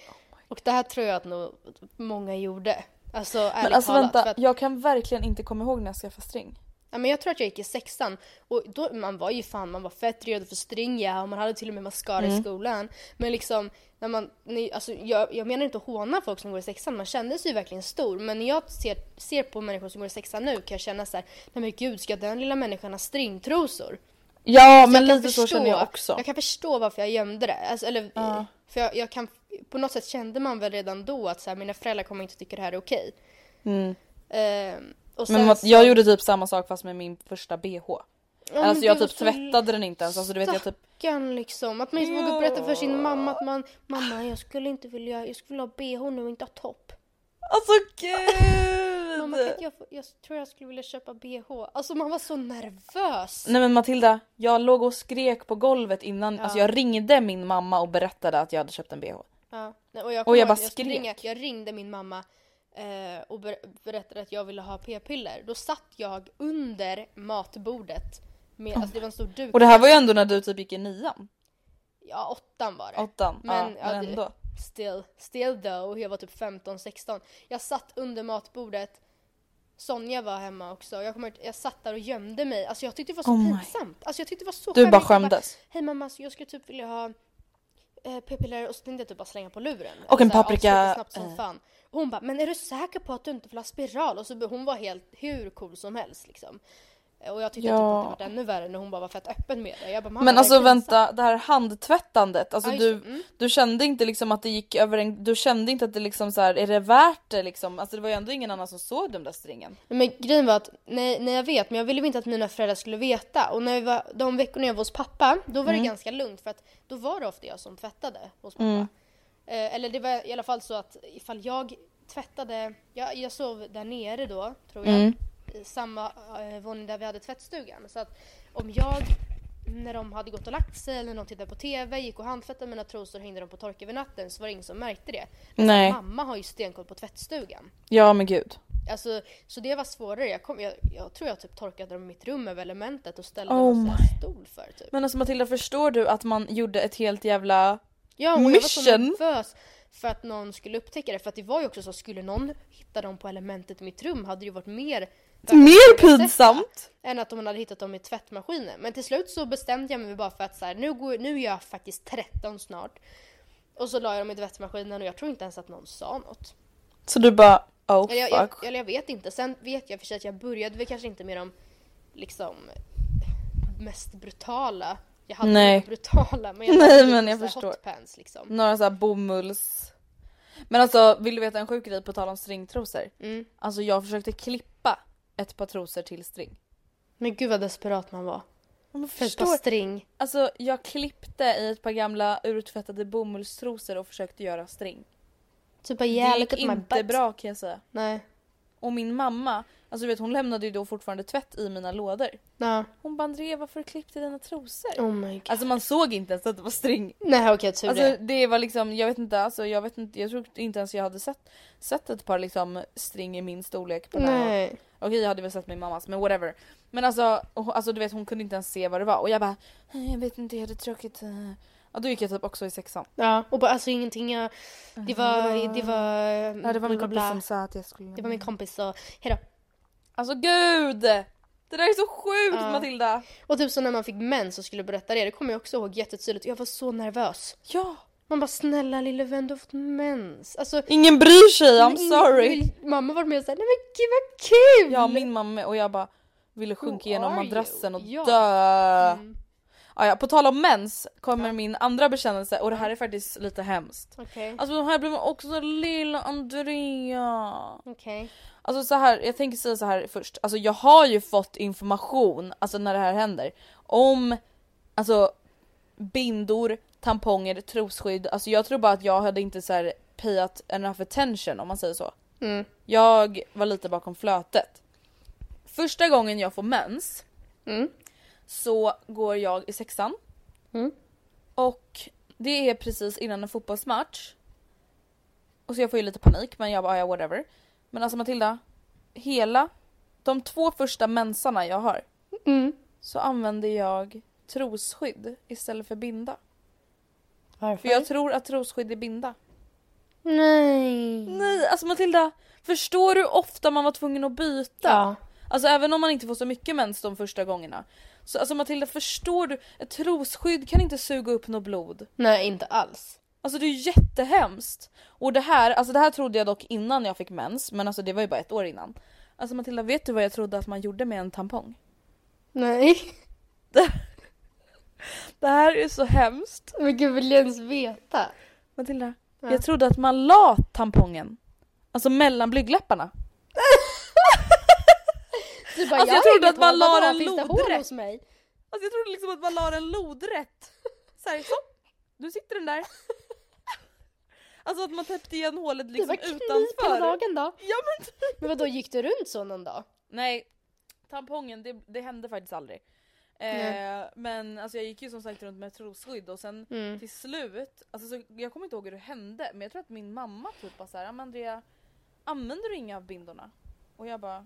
Speaker 2: Oh
Speaker 1: Och det här tror jag att nog många gjorde. Alltså ärligt
Speaker 2: Men alltså
Speaker 1: talat. för
Speaker 2: vänta,
Speaker 1: att-
Speaker 2: jag kan verkligen inte komma ihåg när jag skaffade string.
Speaker 1: Ja, men jag tror att jag gick i sexan och då, man var ju fan, man var fett redo för stringa och man hade till och med mascara
Speaker 2: Mm.
Speaker 1: i skolan. Men liksom, när man, ni, alltså, jag, jag menar inte att håna folk som går i sexan, man kände sig ju verkligen stor. Men när jag ser, ser på människor som går i sexan nu kan jag känna så här, nej men gud ska den lilla människan ha stringtrosor?
Speaker 2: Ja
Speaker 1: Så
Speaker 2: men
Speaker 1: jag kan
Speaker 2: lite så känner jag också.
Speaker 1: Jag kan förstå varför jag gömde det. Alltså, eller, för jag, jag kan, på något sätt kände man väl redan då att så här, mina föräldrar kommer inte tycka det här är okej. Ehm, och sen
Speaker 2: Mm. Men vad-
Speaker 1: så-
Speaker 2: jag gjorde typ samma sak fast med min första bh.
Speaker 1: men
Speaker 2: alltså
Speaker 1: det
Speaker 2: jag
Speaker 1: var
Speaker 2: typ
Speaker 1: så-
Speaker 2: tvättade den inte ens, alltså du vet jag typ
Speaker 1: Stackarn liksom. Att man inte vågar berätta för sin mamma att man Mamma jag skulle inte vilja, jag skulle vilja ha bh nu och inte ha topp.
Speaker 2: Alltså
Speaker 1: Mamma kan
Speaker 2: gud!
Speaker 1: inte jag, få, jag tror jag skulle vilja köpa bh. Alltså man var så nervös.
Speaker 2: Nej men Matilda, jag låg och skrek på golvet innan, alltså jag ringde min mamma och berättade att jag hade köpt en bh.
Speaker 1: Ja. Nej, Och jag,
Speaker 2: Och jag
Speaker 1: kommer ihåg
Speaker 2: bara
Speaker 1: att skulle
Speaker 2: skrek.
Speaker 1: ringa- Jag ringde min mamma eh, och ber- berättade att jag ville ha p-piller. Då satt jag under matbordet. Med, alltså det var en stor duk.
Speaker 2: Och det här var ju ändå när du typ gick i nian,
Speaker 1: Ja åttan var det.
Speaker 2: åttan.
Speaker 1: Men,
Speaker 2: ja, men
Speaker 1: det-
Speaker 2: ändå.
Speaker 1: Still, still though, jag var typ 15-16. Jag satt under matbordet. Sonja var hemma också. Jag, kommer, ihåg att jag satt där och gömde mig. Alltså jag tyckte det var så
Speaker 2: Oh my.
Speaker 1: pinsamt. Alltså jag tyckte det var så
Speaker 2: Du bara
Speaker 1: skämmigt. Jag
Speaker 2: skämdes.
Speaker 1: Hej mamma, så jag skulle typ vilja ha eh, p-piller och så tänkte jag typ bara slänga på luren. Alltså,
Speaker 2: Och en
Speaker 1: Så här,
Speaker 2: paprika,
Speaker 1: avsluta Snabbt som
Speaker 2: eh.
Speaker 1: fan. Och hon bara, men är du säker på att du inte vill ha spiral? Och så be- hon var helt hur cool som helst liksom. Och jag tyckte
Speaker 2: Ja.
Speaker 1: typ att det var ännu värre när hon bara var fett öppen med det. Jag bara, mamma,
Speaker 2: Men
Speaker 1: det är
Speaker 2: alltså
Speaker 1: pinsamt.
Speaker 2: vänta, det här handtvättandet, alltså
Speaker 1: Ja, just
Speaker 2: du,
Speaker 1: det. Mm.
Speaker 2: du kände inte liksom att det gick över en, du kände inte att det liksom så här, är det värt det liksom? Alltså det var ju ändå ingen annan som såg den där stringen.
Speaker 1: Men grejen var att, nej, nej jag vet, men jag ville inte att mina föräldrar skulle veta. Och när jag var, de veckorna jag var hos pappa, då var det ganska lugnt för att då var det ofta jag som tvättade hos pappa. Eh, eller det var i alla fall så att ifall jag tvättade, jag, jag sov där nere då, tror jag, i samma eh, våning där vi hade tvättstugan. Så att om jag, när de hade gått och lagt sig eller någon tittade på TV, gick och handtvättade mina trosor och hängde dem på tork över natten så var det ingen som märkte det. Men
Speaker 2: Nej.
Speaker 1: mamma har ju stenkoll på tvättstugan.
Speaker 2: Ja men gud.
Speaker 1: Alltså, så det var svårare. Jag, kom, jag, jag tror jag typ torkade dem i mitt rum över elementet och ställde
Speaker 2: Oh
Speaker 1: en sån här stol för typ.
Speaker 2: Men alltså Matilda förstår du att man gjorde ett helt jävla
Speaker 1: Ja, och jag var så
Speaker 2: mission.
Speaker 1: nervös för att någon skulle upptäcka det. För att det var ju också så, skulle någon hitta dem på elementet i mitt rum hade det ju varit mer
Speaker 3: Mer pinsamt!
Speaker 1: än att de hade hittat dem i tvättmaskinen. Men till slut så bestämde jag mig bara för att så här, nu, går, nu är jag faktiskt 13 snart. Och så la jag dem i tvättmaskinen och jag tror inte ens att någon sa något.
Speaker 3: Så du bara oh
Speaker 1: Eller jag, jag,
Speaker 3: fuck.
Speaker 1: eller jag vet inte. Sen vet jag för sig att jag började väl kanske inte med de liksom mest brutala. Jag hade
Speaker 3: Nej.
Speaker 1: inga brutala men jag
Speaker 3: Nej,
Speaker 1: hade typ
Speaker 3: men jag
Speaker 1: så här
Speaker 3: förstår.
Speaker 1: hotpants liksom.
Speaker 2: Några så här bomulls... Men alltså vill du veta en sjuk grej på tal om stringtrosor?
Speaker 1: Mm.
Speaker 2: Alltså jag försökte klippa ett par trosor till string.
Speaker 1: Men gud vad desperat man var.
Speaker 2: Men
Speaker 1: För ett par string.
Speaker 2: Alltså jag klippte i ett par gamla urtvättade bomullstrosor och försökte göra string.
Speaker 1: Typ bara yeah,
Speaker 2: det
Speaker 1: look
Speaker 2: gick
Speaker 1: at my
Speaker 2: inte
Speaker 1: butt.
Speaker 2: bra kan jag säga.
Speaker 1: Nej.
Speaker 2: Och min mamma, alltså du vet hon lämnade ju då fortfarande tvätt i mina lådor.
Speaker 1: Ja.
Speaker 2: Hon bara Andrea varför klippte dina trosor?
Speaker 1: Oh my god.
Speaker 2: Alltså man såg inte ens att det var string.
Speaker 1: Nej okej tur
Speaker 2: Alltså
Speaker 1: det.
Speaker 2: det var liksom, jag vet inte, alltså jag vet inte, jag tror inte ens jag hade sett, sett ett par liksom string i min storlek på den här
Speaker 1: Nej.
Speaker 2: Okej jag hade väl sett min mammas men whatever. Men alltså, och, alltså du vet hon kunde inte ens se vad det var och jag bara "Eh, jag vet inte jag hade tråkigt. eh." Ja då gick jag typ också i sexan.
Speaker 1: Ja, och bara alltså ingenting jag... Det var... Det var...
Speaker 2: Ja det var min
Speaker 1: bla, bla,
Speaker 2: kompis
Speaker 1: bla.
Speaker 2: som sa liksom att jag skulle.
Speaker 1: Det var min kompis så hejdå.
Speaker 2: Alltså gud! Det där är så sjukt
Speaker 1: Ja.
Speaker 2: Matilda!
Speaker 1: Och typ så när man fick mens och skulle berätta det, det kommer jag också ihåg jättetydligt. Jag var så nervös.
Speaker 2: Ja!
Speaker 1: Man bara snälla lille vän du har fått mens. Alltså...
Speaker 2: Ingen bryr sig, I'm
Speaker 1: ingen-
Speaker 2: sorry!
Speaker 1: vill- Mamma var med och sa nej men gud vad kul!
Speaker 2: Ja min mamma med och jag bara ville sjunka
Speaker 1: Who
Speaker 2: igenom
Speaker 1: are you?
Speaker 2: madrassen och
Speaker 1: Ja. Mm.
Speaker 2: dö! Ah, Ja, ja, på tal om mens kommer min andra bekännelse och det här är faktiskt lite hemskt.
Speaker 1: Okej,
Speaker 2: Alltså de här blev också lilla Andrea.
Speaker 1: okej.
Speaker 2: Alltså så här, jag tänker säga så här först. Alltså jag har ju fått information, alltså när det här händer, om alltså bindor, tamponger, trosskydd. Alltså jag tror bara att jag hade inte så här payat enough attention om man säger så.
Speaker 1: Mm.
Speaker 2: Jag var lite bakom flötet. Första gången jag får mens
Speaker 1: Mm.
Speaker 2: så går jag i sexan.
Speaker 1: Mm.
Speaker 2: Och det är precis innan en fotbollsmatch. Och så jag får ju lite panik men jag bara "Ah, ja whatever. Men alltså Matilda, hela de två första mensarna jag har
Speaker 1: Mm.
Speaker 2: så använder jag trosskydd istället för binda.
Speaker 1: Varför? Mm.
Speaker 2: För jag tror att trosskydd är binda.
Speaker 1: Nej.
Speaker 2: Nej alltså Matilda, förstår du hur ofta man var tvungen att byta?
Speaker 1: Ja.
Speaker 2: Alltså även om man inte får så mycket mens de första gångerna. Så alltså Matilda förstår du? Ett trosskydd kan inte suga upp något blod.
Speaker 1: Nej inte alls.
Speaker 2: Alltså det är ju jättehemskt. Och det här, alltså det här trodde jag dock innan jag fick mens men alltså det var ju bara ett år innan. Alltså Matilda vet du vad jag trodde att man gjorde med en tampong?
Speaker 1: Nej. (laughs)
Speaker 2: Det här är så hemskt.
Speaker 1: Men gud vill jag ens veta?
Speaker 2: Matilda, jag trodde att man la tampongen. Alltså mellan blygdläpparna.
Speaker 1: Du bara,
Speaker 2: Alltså, jag
Speaker 1: hänger
Speaker 2: trodde att
Speaker 1: på,
Speaker 2: man la
Speaker 1: vadå?
Speaker 2: den
Speaker 1: Finns det hår
Speaker 2: lodrätt?
Speaker 1: hos mig?
Speaker 2: Alltså jag trodde liksom att man la den lodrätt. Såhär så, nu sitter den (laughs) där. Alltså att man täppte igen hålet
Speaker 1: Det
Speaker 2: liksom
Speaker 1: var knip hela
Speaker 2: utanför.
Speaker 1: dagen då.
Speaker 2: Ja men typ.
Speaker 1: Men vadå, gick du runt så någon dag?
Speaker 2: Nej, tampongen det, det hände faktiskt aldrig. Eh, men alltså jag gick ju som sagt runt med trosskydd och sen
Speaker 1: Mm.
Speaker 2: till slut, alltså så, jag kommer inte ihåg hur det hände men jag tror att min mamma typ bara såhär "Ah, men Andrea, använder du inga av bindorna? Och jag bara,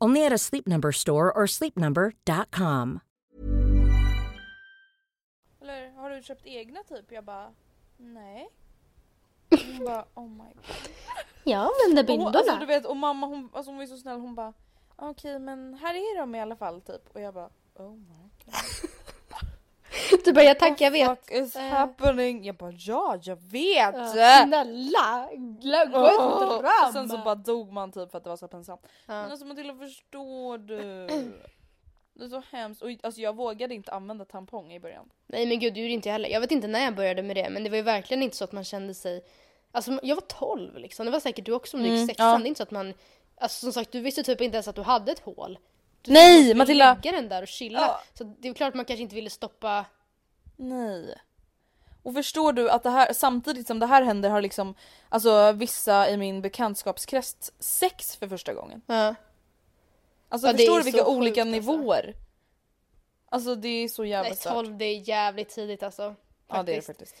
Speaker 4: Only at a Sleep Number store or sleepnumber.com.
Speaker 2: Eller har du köpt egna typ? Jag bara nej. Hon bara oh my god.
Speaker 1: Jag använder
Speaker 2: Och, hon- alltså, du
Speaker 1: bindorna.
Speaker 2: vet, och mamma hon, alltså, hon var ju så snäll hon bara okej men här är de i alla fall typ. Och jag bara oh my god.
Speaker 1: Du bara, jag tackar, jag vet.
Speaker 2: Fuck is
Speaker 1: Eh.
Speaker 2: happening? Jag bara ja jag vet!
Speaker 1: Ja, Snälla, glöm, gå ut
Speaker 2: alltså. Åh,
Speaker 1: och dröm.
Speaker 2: och sen så bara dog man typ för att det var så pinsamt. Men
Speaker 1: ja.
Speaker 2: alltså Matilda förstår du? Det är så hemskt. Och, alltså, jag vågade inte använda tampong i början.
Speaker 1: Nej men gud, det gjorde inte jag heller. Jag vet inte när jag började med det, men det var ju verkligen inte så att man kände sig... Alltså jag var 12 liksom, det var säkert du också om du gick sexan.
Speaker 2: Mm, ja.
Speaker 1: Det är inte så att man... Alltså som sagt, du visste typ inte ens att du hade ett hål. Du
Speaker 2: Nej,
Speaker 1: tänkte att du
Speaker 2: Matilda.
Speaker 1: lägga den där och chilla.
Speaker 2: Ja.
Speaker 1: Så det är klart att man kanske inte ville stoppa...
Speaker 2: Nej. Och förstår du att det här, samtidigt som det här händer har liksom alltså vissa i min bekantskapskrets sex för första gången.
Speaker 1: Ja.
Speaker 2: Alltså
Speaker 1: Ja, det
Speaker 2: förstår
Speaker 1: är
Speaker 2: du vilka
Speaker 1: så sjukt,
Speaker 2: olika
Speaker 1: alltså.
Speaker 2: nivåer? Alltså det är så jävla
Speaker 1: Nej,
Speaker 2: stört.
Speaker 1: 12 det är jävligt tidigt alltså.
Speaker 2: Ja det är det
Speaker 1: faktiskt.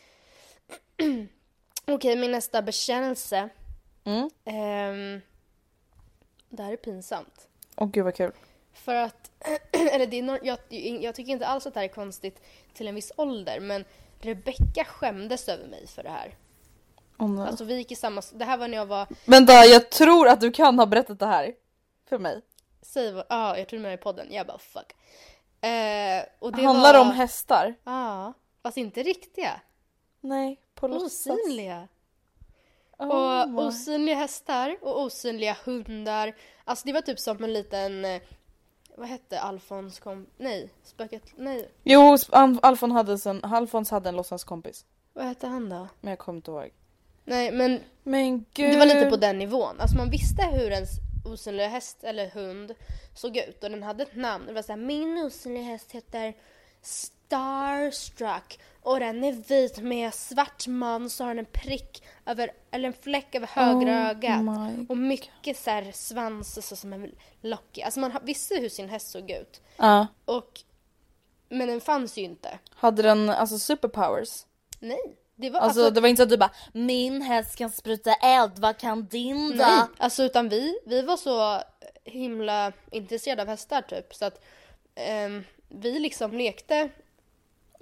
Speaker 2: faktiskt.
Speaker 1: Okej, min nästa bekännelse.
Speaker 2: Mm.
Speaker 1: Ehm, det här är pinsamt.
Speaker 2: Åh gud vad kul.
Speaker 1: För att, (clears throat) eller det är no, jag, jag tycker inte alls att det här är konstigt till en viss ålder, men Rebecca skämdes över mig för det här.
Speaker 2: Åh, nej.
Speaker 1: Alltså vi gick i samma, det här var när jag var,
Speaker 2: Vänta jag tror att du kan ha berättat det här. För mig.
Speaker 1: säg vad, ja jag tror du menar i podden, jag bara fuck. Eh, och det
Speaker 2: Handlar det
Speaker 1: var,
Speaker 2: om hästar?
Speaker 1: Ja, fast inte riktiga.
Speaker 2: Nej, på låtsas.
Speaker 1: Osynliga.
Speaker 2: Oh my-
Speaker 1: Och osynliga hästar och osynliga hundar. Alltså det var typ som en liten, eh, vad hette Alfons kom, nej, spöket, nej,
Speaker 2: Jo, sp- Al- Alfons hade, sen, Alfons hade en låtsaskompis.
Speaker 1: vad hette han då?
Speaker 2: Men jag kommer inte ihåg.
Speaker 1: Nej men
Speaker 2: Men gud.
Speaker 1: Det var lite på
Speaker 2: Eh.
Speaker 1: den nivån. Alltså man visste hur ens osynliga häst eller hund såg ut och den hade ett namn. Det var såhär, min osynliga häst heter Starstruck och den är vit med svart man så har den en prick över, eller en fläck över högra
Speaker 2: Oh
Speaker 1: ögat.
Speaker 2: my
Speaker 1: Och mycket så här svans så som en lockig. Alltså man ha- visste hur sin häst såg ut.
Speaker 2: Ja.
Speaker 1: Och, men den fanns ju inte.
Speaker 2: Hade den alltså superpowers?
Speaker 1: Nej. Det var,
Speaker 2: Alltså, det var inte så att du bara Min häst kan spruta eld, vad kan din då?
Speaker 1: Nej, alltså utan vi, vi var så himla intresserade av hästar typ så att ehm, vi liksom lekte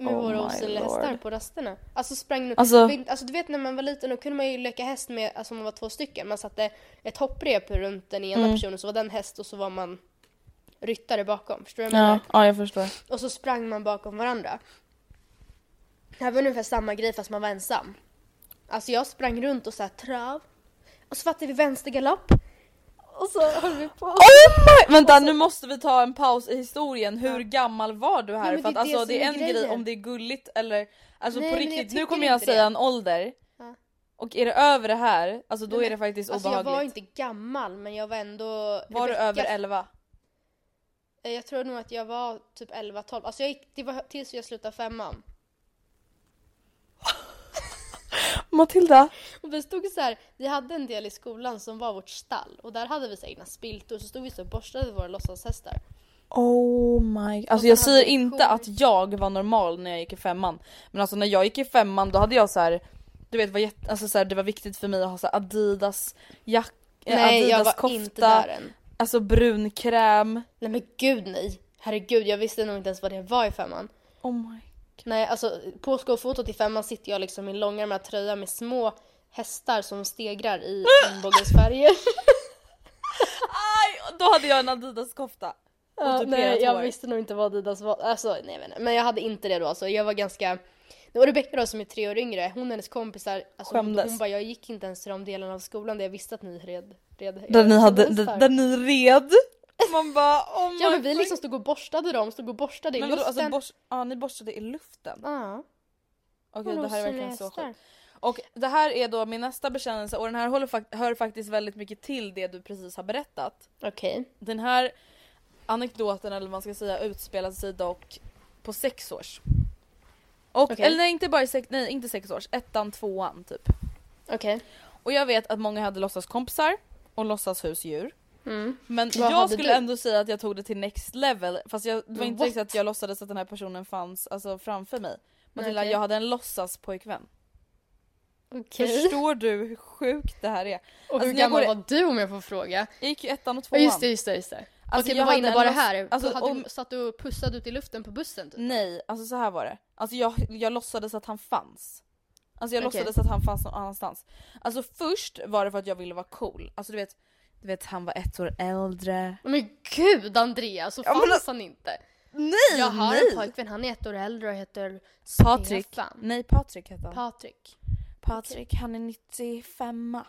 Speaker 1: med
Speaker 2: Oh my
Speaker 1: våra osynliga
Speaker 2: lord.
Speaker 1: hästar på rasterna. Alltså sprang
Speaker 2: Alltså-
Speaker 1: alltså... alltså du vet när man var liten då kunde man ju leka häst med, alltså man var två stycken, man satte ett hopprep runt den
Speaker 2: Mm.
Speaker 1: ena personen så var den häst och så var man ryttare bakom, förstår du vad jag menar?
Speaker 2: Ja, ja jag förstår.
Speaker 1: Och så sprang man bakom varandra. Det här var ungefär samma grej fast man var ensam. Alltså jag sprang runt och så här trav. Och så fattade vi vänstergalopp. Och så höll vi på.
Speaker 2: Oh my! Vänta nu måste vi ta en paus i historien, hur gammal var du här?
Speaker 1: men
Speaker 2: För att
Speaker 1: det är det
Speaker 2: alltså
Speaker 1: som
Speaker 2: det är
Speaker 1: är
Speaker 2: en grej
Speaker 1: grejen.
Speaker 2: om det är gulligt eller alltså
Speaker 1: Nej,
Speaker 2: på
Speaker 1: men jag
Speaker 2: riktigt, nu
Speaker 1: tycker
Speaker 2: kommer jag
Speaker 1: inte det.
Speaker 2: säga en ålder
Speaker 1: Ja.
Speaker 2: och är det över det här, alltså då
Speaker 1: Nej,
Speaker 2: är det faktiskt
Speaker 1: Alltså jag
Speaker 2: obehagligt.
Speaker 1: var inte gammal men jag var ändå...
Speaker 2: Var du
Speaker 1: Rebecka-
Speaker 2: över 11?
Speaker 1: Eh, Jag tror nog att jag var typ 11-12. Alltså jag gick, det var tills jag slutade femman.
Speaker 2: Matilda!
Speaker 1: Och vi stod så här, vi hade en del i skolan som var vårt stall. Och där hade vi så här egna spiltor så stod vi så och borstade våra låtsashästar.
Speaker 2: Oh my... Alltså
Speaker 1: sen
Speaker 2: jag
Speaker 1: hade
Speaker 2: säger
Speaker 1: vi
Speaker 2: inte
Speaker 1: jour.
Speaker 2: att jag var normal när jag gick i femman. Men alltså när jag gick i femman då hade jag så här. Du vet var jätte, alltså så här, det var viktigt för mig att ha så här Adidas jack... eh,
Speaker 1: Nej
Speaker 2: Adidas
Speaker 1: jag var
Speaker 2: kofta,
Speaker 1: inte där än.
Speaker 2: Alltså brun kräm.
Speaker 1: Nej men gud nej. Herregud, jag visste nog inte ens vad det var i femman.
Speaker 2: Oh my...
Speaker 1: Nej, alltså på skofotot i femman sitter jag liksom i en långärmad tröja med små hästar som stegrar
Speaker 2: (laughs)
Speaker 1: i regnbågens färger.
Speaker 2: Aj! Då hade jag en Adidas kofta.
Speaker 1: Ja,
Speaker 2: typ
Speaker 1: nej,
Speaker 2: era
Speaker 1: jag
Speaker 2: tår.
Speaker 1: visste nog inte vad Adidas var. Alltså, nej, jag vet inte. Men jag hade inte det då. Alltså, jag var ganska... Det var Rebecca då som är tre år yngre. Hon och hennes kompisar, alltså, hon,
Speaker 2: Skämdes.
Speaker 1: hon bara jag gick inte ens till de delarna av skolan där jag visste att ni red. red
Speaker 2: Där ni, hade,
Speaker 1: hästar."
Speaker 2: där, där ni red. Man bara oh my...
Speaker 1: Ja men vi
Speaker 2: fuck.
Speaker 1: liksom stod och borstade dem, stod och borstade i
Speaker 2: Men vadå,
Speaker 1: luften.
Speaker 2: alltså, bors... ja, ni borstade i luften?
Speaker 1: Ja.
Speaker 2: Okej det här är verkligen så
Speaker 1: Hästar.
Speaker 2: sjukt. Och det här är då min nästa bekännelse och den här håller fak- hör faktiskt väldigt mycket till det du precis har berättat.
Speaker 1: Okej.
Speaker 2: Den här anekdoten eller vad man ska säga utspelar sig dock på sex års. Och,
Speaker 1: Okej.
Speaker 2: Eller nej inte bara i sex, nej inte sex års, ettan, tvåan typ.
Speaker 1: Okej.
Speaker 2: Och jag vet att många hade låtsaskompisar och låtsas husdjur.
Speaker 1: Mm.
Speaker 2: Men
Speaker 1: Vad
Speaker 2: jag
Speaker 1: hade
Speaker 2: skulle
Speaker 1: du?
Speaker 2: ändå säga att jag tog det till next level. Fast jag, det var inte
Speaker 1: What?
Speaker 2: riktigt att jag låtsades att den här personen fanns alltså, framför mig. Matilda,
Speaker 1: okej.
Speaker 2: jag hade en låtsas pojkvän.
Speaker 1: Okej.
Speaker 2: Förstår du hur sjukt det här är?
Speaker 1: Och
Speaker 2: Alltså,
Speaker 1: hur
Speaker 2: när jag
Speaker 1: gammal
Speaker 2: går i-
Speaker 1: var du om jag får fråga?
Speaker 2: Jag gick ju ettan och
Speaker 1: Ja
Speaker 2: tvåan.
Speaker 1: just det, just det, just det.
Speaker 2: Alltså,
Speaker 1: Okej
Speaker 2: jag
Speaker 1: men vad
Speaker 2: hade en
Speaker 1: innebar det
Speaker 2: låts-
Speaker 1: här?
Speaker 2: alltså,
Speaker 1: hade
Speaker 2: om-
Speaker 1: du, satt du och pussade ut i luften på bussen typ?
Speaker 2: Nej, alltså så här var det. Alltså jag, jag låtsades att han fanns. Alltså jag
Speaker 1: Okej.
Speaker 2: låtsades att han fanns någon annanstans. Alltså först var det för att jag ville vara cool. Alltså du vet, du vet han var ett år äldre.
Speaker 1: Men gud Andrea, så
Speaker 2: Ja, men- alltså-
Speaker 1: fanns han inte.
Speaker 2: Nej!
Speaker 1: Jag har en
Speaker 2: nej!
Speaker 1: pojkvän, han är ett år äldre och heter
Speaker 2: Patrik.
Speaker 1: Stefan.
Speaker 2: Nej Patrik hette han.
Speaker 1: Patrik.
Speaker 2: Patrik han är 95.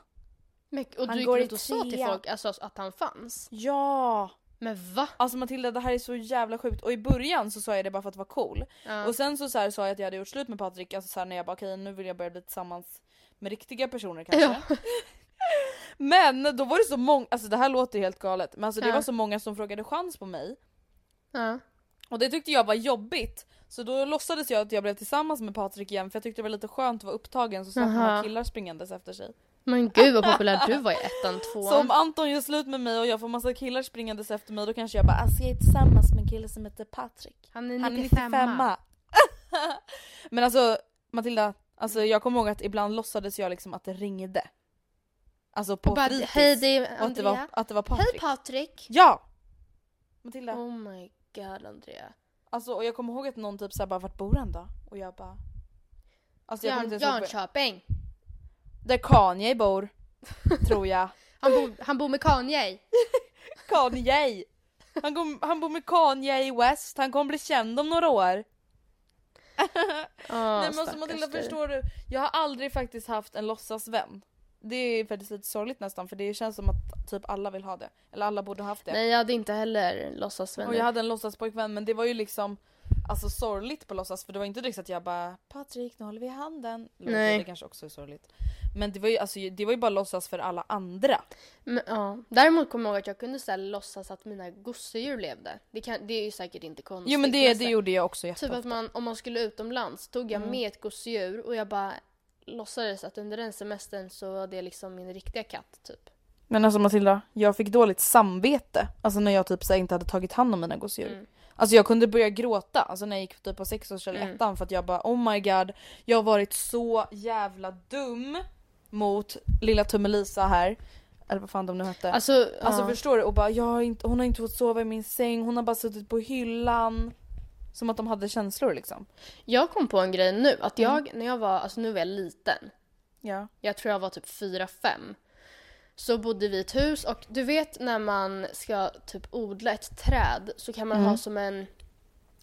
Speaker 1: Men, och
Speaker 2: Han
Speaker 1: du gick
Speaker 2: går i
Speaker 1: runt och sa till
Speaker 2: trean.
Speaker 1: folk alltså, att han fanns?
Speaker 2: Ja!
Speaker 1: Men va?
Speaker 2: Alltså Matilda det här är så jävla sjukt och i början så sa jag det bara för att vara cool.
Speaker 1: Ja.
Speaker 2: Och sen så, så här, sa jag att jag hade gjort slut med Patrik, alltså så här, när jag bara okej nu vill jag börja bli tillsammans med riktiga personer kanske. (laughs) men då var det så många, alltså det här låter helt galet, men alltså det
Speaker 1: Ja.
Speaker 2: var så många som frågade chans på mig.
Speaker 1: Ja.
Speaker 2: Och det tyckte jag var jobbigt. Så då låtsades jag att jag blev tillsammans med Patrik igen för jag tyckte det var lite skönt att vara upptagen så slapp man ha
Speaker 1: Aha.
Speaker 2: killar springandes efter sig.
Speaker 1: Men gud vad populär du var i
Speaker 2: (laughs)
Speaker 1: ettan,
Speaker 2: Så om
Speaker 1: tvåan.
Speaker 2: Anton gör slut med mig och jag får massa killar springandes efter mig då kanske jag bara alltså jag är tillsammans med en kille som heter Patrik.
Speaker 1: Han är
Speaker 2: Han är
Speaker 1: 95.
Speaker 2: 95. (laughs) Men alltså Matilda, alltså jag kommer ihåg att ibland låtsades jag liksom att det ringde. Alltså på
Speaker 1: Och bara,
Speaker 2: fritids.
Speaker 1: hej det är
Speaker 2: och att det, var,
Speaker 1: Andrea.
Speaker 2: att det var Patrik.
Speaker 1: Hej Patrik!
Speaker 2: Ja! Matilda.
Speaker 1: Oh my god Andrea.
Speaker 2: Alltså och jag kommer ihåg att någon typ såhär bara vart bor han då? Och jag bara... Alltså jag
Speaker 1: Jön,
Speaker 2: kommer inte ens ihåg.
Speaker 1: Jönköping!
Speaker 2: Där Kanye bor. tror jag.
Speaker 1: Han bor, han bor med
Speaker 2: (laughs)
Speaker 1: Kanye!
Speaker 2: Kanye! Han, kom, han bor med Kanye West, han kommer bli känd om några år.
Speaker 1: Oh,
Speaker 2: Nej men alltså Matilda förstår du, jag har aldrig faktiskt haft en låtsasvän. Det är faktiskt lite sorgligt nästan för det känns som att typ alla vill ha det. Eller alla borde ha haft det.
Speaker 1: Nej jag hade inte heller låtsasvänner.
Speaker 2: Och jag hade en låtsaspojkvän men det var ju liksom Alltså sorgligt på låtsas för det var inte direkt så att jag bara Patrik nu håller vi i handen. Eller,
Speaker 1: Nej.
Speaker 2: Det kanske också är sorgligt. Men det var ju, alltså, det var ju bara låtsas för alla andra.
Speaker 1: Men, ja. Däremot kommer jag ihåg att jag kunde så här, låtsas att mina gosedjur levde. Det, kan, det är ju säkert inte konstigt.
Speaker 2: Jo men det, det
Speaker 1: så här,
Speaker 2: gjorde jag Mm. också
Speaker 1: Typ
Speaker 2: jätteofta.
Speaker 1: att man, om man skulle utomlands tog jag med ett gosedjur och jag bara låtsades att under den semestern så var det liksom min riktiga katt typ.
Speaker 2: Men alltså Matilda, jag fick dåligt samvete. Alltså när jag typ så här, inte hade tagit hand om mina gosedjur.
Speaker 1: Mm.
Speaker 2: Alltså jag kunde börja gråta alltså när jag gick typ på sexårs eller
Speaker 1: Mm.
Speaker 2: ettan för att jag bara oh my god. Jag har varit så jävla dum mot lilla Tummelisa här. Eller vad fan de nu hette.
Speaker 1: Alltså,
Speaker 2: Alltså
Speaker 1: ja.
Speaker 2: förstår du? Och bara, jag har inte, hon har inte fått sova i min säng, hon har bara suttit på hyllan. Som att de hade känslor liksom.
Speaker 1: jag kom på en grej nu. Att
Speaker 2: Mm.
Speaker 1: jag, när jag var, alltså nu var jag liten.
Speaker 2: Ja.
Speaker 1: jag tror jag var typ fyra fem så bodde vi i ett hus och du vet när man ska typ odla ett träd så kan man
Speaker 2: Mm.
Speaker 1: ha som en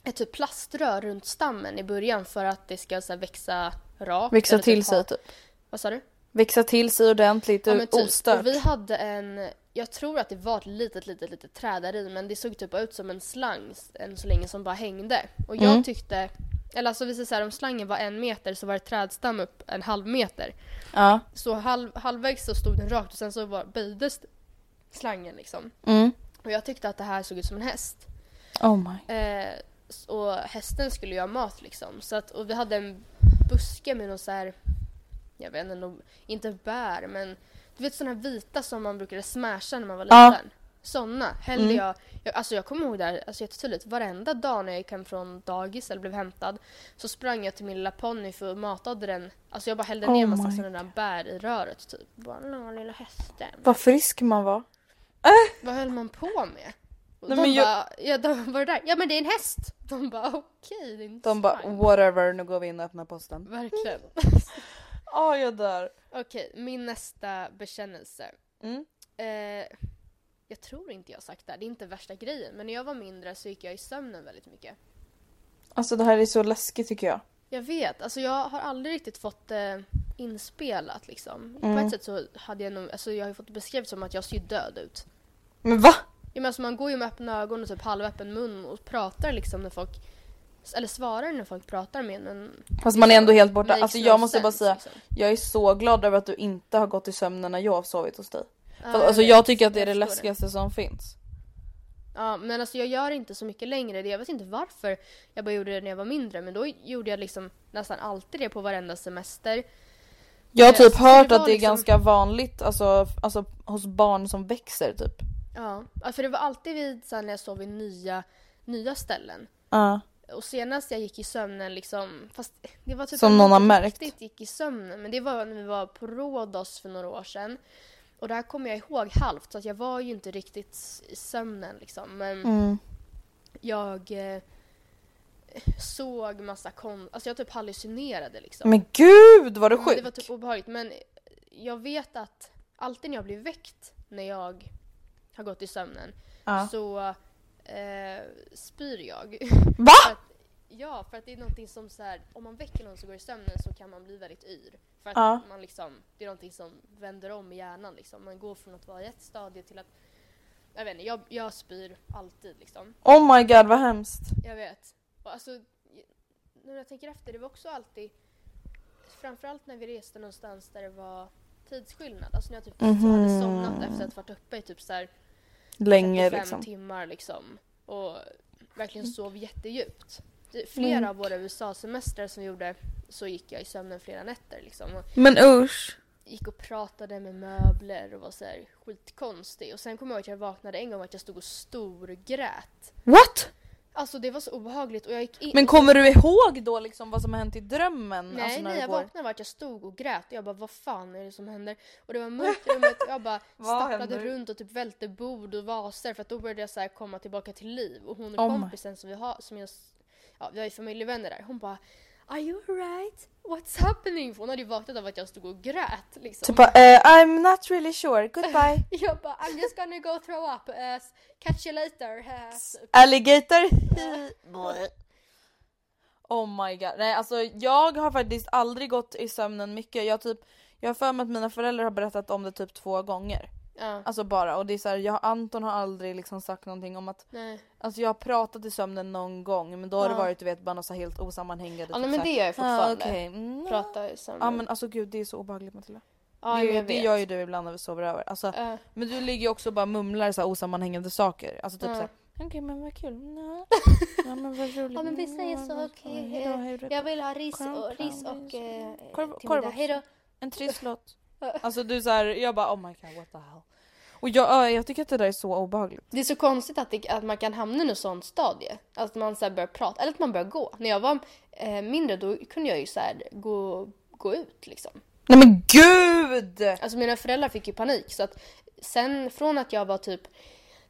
Speaker 1: ett typ plaströr runt stammen i början för att det ska så här, växa rakt.
Speaker 2: Växa
Speaker 1: eller
Speaker 2: till
Speaker 1: typ
Speaker 2: sig
Speaker 1: ha-
Speaker 2: typ.
Speaker 1: Vad sa du?
Speaker 2: Växa till sig ordentligt,
Speaker 1: men typ.
Speaker 2: ostört.
Speaker 1: Och vi hade en, jag tror att det var ett litet, litet, litet träd där i men det såg typ ut som en slang än så länge som bara hängde. Och jag
Speaker 2: Mm.
Speaker 1: tyckte, eller alltså vi säger så här, om slangen var en meter så var det trädstam upp en halv meter.
Speaker 2: Ja.
Speaker 1: Så halv, halvvägs så stod den rakt och sen så var, böjdes slangen liksom.
Speaker 2: Mm.
Speaker 1: Och jag tyckte att det här såg ut som en häst.
Speaker 2: Oh my.
Speaker 1: Eh, s- och hästen skulle ju ha mat liksom. Så att, och vi hade en buske med någon så här, jag vet inte, någon, inte bär men du vet sådana här vita som man brukade smasha när man var
Speaker 2: Ja. Mm.
Speaker 1: liten. Sådana hällde jag, jag, alltså jag kommer ihåg det här alltså jättetydligt, varenda dag när jag gick hem från dagis eller blev hämtad så sprang jag till min lilla ponny för att matade den, alltså jag bara hällde ner
Speaker 2: Oh
Speaker 1: massa
Speaker 2: my
Speaker 1: sådana där bär i röret typ. Bara, "Nå, lilla hästen.
Speaker 2: Vad frisk man var.
Speaker 1: Vad höll man på med? Och de
Speaker 2: Nej, men jag-
Speaker 1: bara, ja, de var det där? Ja men det är en häst! De bara okej, det är inte
Speaker 2: De bara
Speaker 1: slang."
Speaker 2: whatever, nu går vi in och öppnar posten.
Speaker 1: Verkligen. (laughs)
Speaker 2: Ja, jag dör.
Speaker 1: okej, min nästa bekännelse.
Speaker 2: Mm.
Speaker 1: Eh, jag tror inte jag har sagt det här, det är inte värsta grejen. Men när jag var mindre så gick jag i sömnen väldigt mycket.
Speaker 2: Alltså det här är så läskigt tycker jag.
Speaker 1: Jag vet, alltså jag har aldrig riktigt fått eh, inspelat liksom. På
Speaker 2: Mm.
Speaker 1: ett sätt så hade jag nog, alltså jag har ju fått beskrivet som att jag ser död ut.
Speaker 2: Men va?
Speaker 1: Ja, men alltså man går ju med öppna ögon och typ halvöppen mun och pratar liksom när folk eller svarar när folk pratar med en, men
Speaker 2: Fast man är ändå helt borta.
Speaker 1: Makes
Speaker 2: Alltså
Speaker 1: no
Speaker 2: jag måste
Speaker 1: sense,
Speaker 2: bara säga,
Speaker 1: liksom.
Speaker 2: jag är så glad över att du inte har gått i sömnen när jag har sovit hos dig. För,
Speaker 1: jag
Speaker 2: alltså
Speaker 1: vet.
Speaker 2: jag tycker att det är det
Speaker 1: Jag förstår det.
Speaker 2: läskigaste som finns.
Speaker 1: Ja, men alltså jag gör inte så mycket längre. Det- Jag vet inte varför jag bara gjorde det när jag var mindre. Men då gjorde jag liksom nästan alltid det på varenda semester.
Speaker 2: Jag har
Speaker 1: Eh,
Speaker 2: typ
Speaker 1: så
Speaker 2: hört
Speaker 1: det var
Speaker 2: att det är
Speaker 1: liksom-
Speaker 2: ganska vanligt alltså, f- alltså hos barn som växer typ.
Speaker 1: Ja, ja, för det var alltid vid, så här, när jag sov i nya, nya ställen.
Speaker 2: Ja.
Speaker 1: Och senast jag gick i sömnen liksom, fast det var typ
Speaker 2: Som
Speaker 1: att jag
Speaker 2: någon har
Speaker 1: inte
Speaker 2: märkt.
Speaker 1: riktigt gick i sömnen, men det var när vi var på Rhodos för några år sedan. Och det här kommer jag ihåg halvt, så att jag var ju inte riktigt i sömnen liksom. Men
Speaker 2: Mm.
Speaker 1: jag eh, såg massa kon... Alltså jag typ hallucinerade liksom.
Speaker 2: Men gud vad du är
Speaker 1: Ja, det
Speaker 2: sjuk!
Speaker 1: var typ obehagligt men jag vet att alltid när jag blir väckt när jag har gått i sömnen
Speaker 2: Ja.
Speaker 1: så eh, spyr jag.
Speaker 2: Va?
Speaker 1: För att, ja, för att det är någonting som så här, om man väcker någon som går i sömnen så kan man bli väldigt yr. För att
Speaker 2: Ja.
Speaker 1: man liksom, det är någonting som vänder om i hjärnan liksom. Man går från att vara i ett stadie till att, jag vet inte, jag, jag spyr alltid liksom.
Speaker 2: Oh my god vad hemskt.
Speaker 1: Jag vet. Och alltså, j- när jag tänker efter, det var också alltid, framförallt när vi reste någonstans där det var tidsskillnad. Alltså när jag
Speaker 2: Mhm.
Speaker 1: typ så hade somnat efter att ha varit uppe i typ så här
Speaker 2: Länge
Speaker 1: 35
Speaker 2: liksom. Mm.
Speaker 1: timmar liksom. Och verkligen sov jättedjupt. Det- Flera av våra USA-semestrar som vi gjorde så gick jag i sömnen flera nätter liksom. Och
Speaker 2: Men usch.
Speaker 1: gick och pratade med möbler och var så här skitkonstig. Och sen kommer jag ihåg att jag vaknade en gång och att jag stod och storgrät.
Speaker 2: What?
Speaker 1: Alltså det var så obehagligt och jag gick in
Speaker 2: Men kommer du ihåg då liksom vad som har hänt i drömmen?
Speaker 1: Nej,
Speaker 2: alltså, när
Speaker 1: nej
Speaker 2: du
Speaker 1: jag
Speaker 2: går?
Speaker 1: vaknade var att jag stod och grät och jag bara vad fan är det som händer? Och det var mörkt i rummet och jag bara
Speaker 2: (laughs) Vad
Speaker 1: stapplade
Speaker 2: händer?
Speaker 1: runt och typ välte bord och vaser för att då började jag så här komma tillbaka till liv och hon
Speaker 2: Oh my.
Speaker 1: kompisen som vi har, som jag, ja vi har ju familjevänner där, hon bara Are you alright? What's happening? För hon hade ju vaknat av att jag stod och grät liksom. (laughs)
Speaker 2: Typ bara, eh, I'm not really sure, (laughs) goodbye.
Speaker 1: Jag bara I'm just gonna go throw up, eh, catch you later. (laughs) eh." Typ.
Speaker 2: Alligator. oh my god. Nej alltså jag har faktiskt aldrig gått i sömnen mycket. Jag typ jag har för mig att mina föräldrar har berättat om det typ två gånger.
Speaker 1: Ja,
Speaker 2: Alltså bara och det är så här, jag Anton har aldrig liksom sagt någonting om att
Speaker 1: nej.
Speaker 2: alltså jag har pratat i sömnen någon gång men då har det
Speaker 1: Ja.
Speaker 2: varit du vet bara något så här helt osammanhängande.
Speaker 1: Ja, nej men det gör jag
Speaker 2: fortfarande. Ah,
Speaker 1: fortfarande.
Speaker 2: okej. Mm.
Speaker 1: Prata sen.
Speaker 2: Ja men alltså gud det är så obehagligt Matilda.
Speaker 1: ja,
Speaker 2: det,
Speaker 1: jag
Speaker 2: det
Speaker 1: vet.
Speaker 2: gör ju du ibland när vi sover över. Alltså,
Speaker 1: Ja.
Speaker 2: Men du ligger ju också och bara mumlar så här osammanhängande saker. Alltså typ
Speaker 1: Ja.
Speaker 2: så här. Okej men vad
Speaker 1: (laughs)
Speaker 2: kul. Nej. Ja men vad roligt.
Speaker 1: Ja men vi
Speaker 2: Nej,
Speaker 1: säger
Speaker 2: vad-
Speaker 1: så,
Speaker 2: vad-
Speaker 1: okej.
Speaker 2: Hej då, hej då.
Speaker 1: eh, jag vill ha ris
Speaker 2: Kram,
Speaker 1: och,
Speaker 2: kram,
Speaker 1: ris och eh,
Speaker 2: Korv-
Speaker 1: till
Speaker 2: korv
Speaker 1: middag.
Speaker 2: också.
Speaker 1: Hej då.
Speaker 2: En trisslott. alltså du så här, jag bara oh my god what the hell. Och jag, ja, jag tycker att det där är så obehagligt.
Speaker 1: Det är så konstigt att, det, att man kan hamna i något sånt stadie. Att man så här börjar prata, eller att man börjar gå. När jag var eh, mindre då kunde jag ju så här gå, gå ut liksom.
Speaker 2: Nej men gud!
Speaker 1: Alltså mina föräldrar fick ju panik så att sen från att jag var typ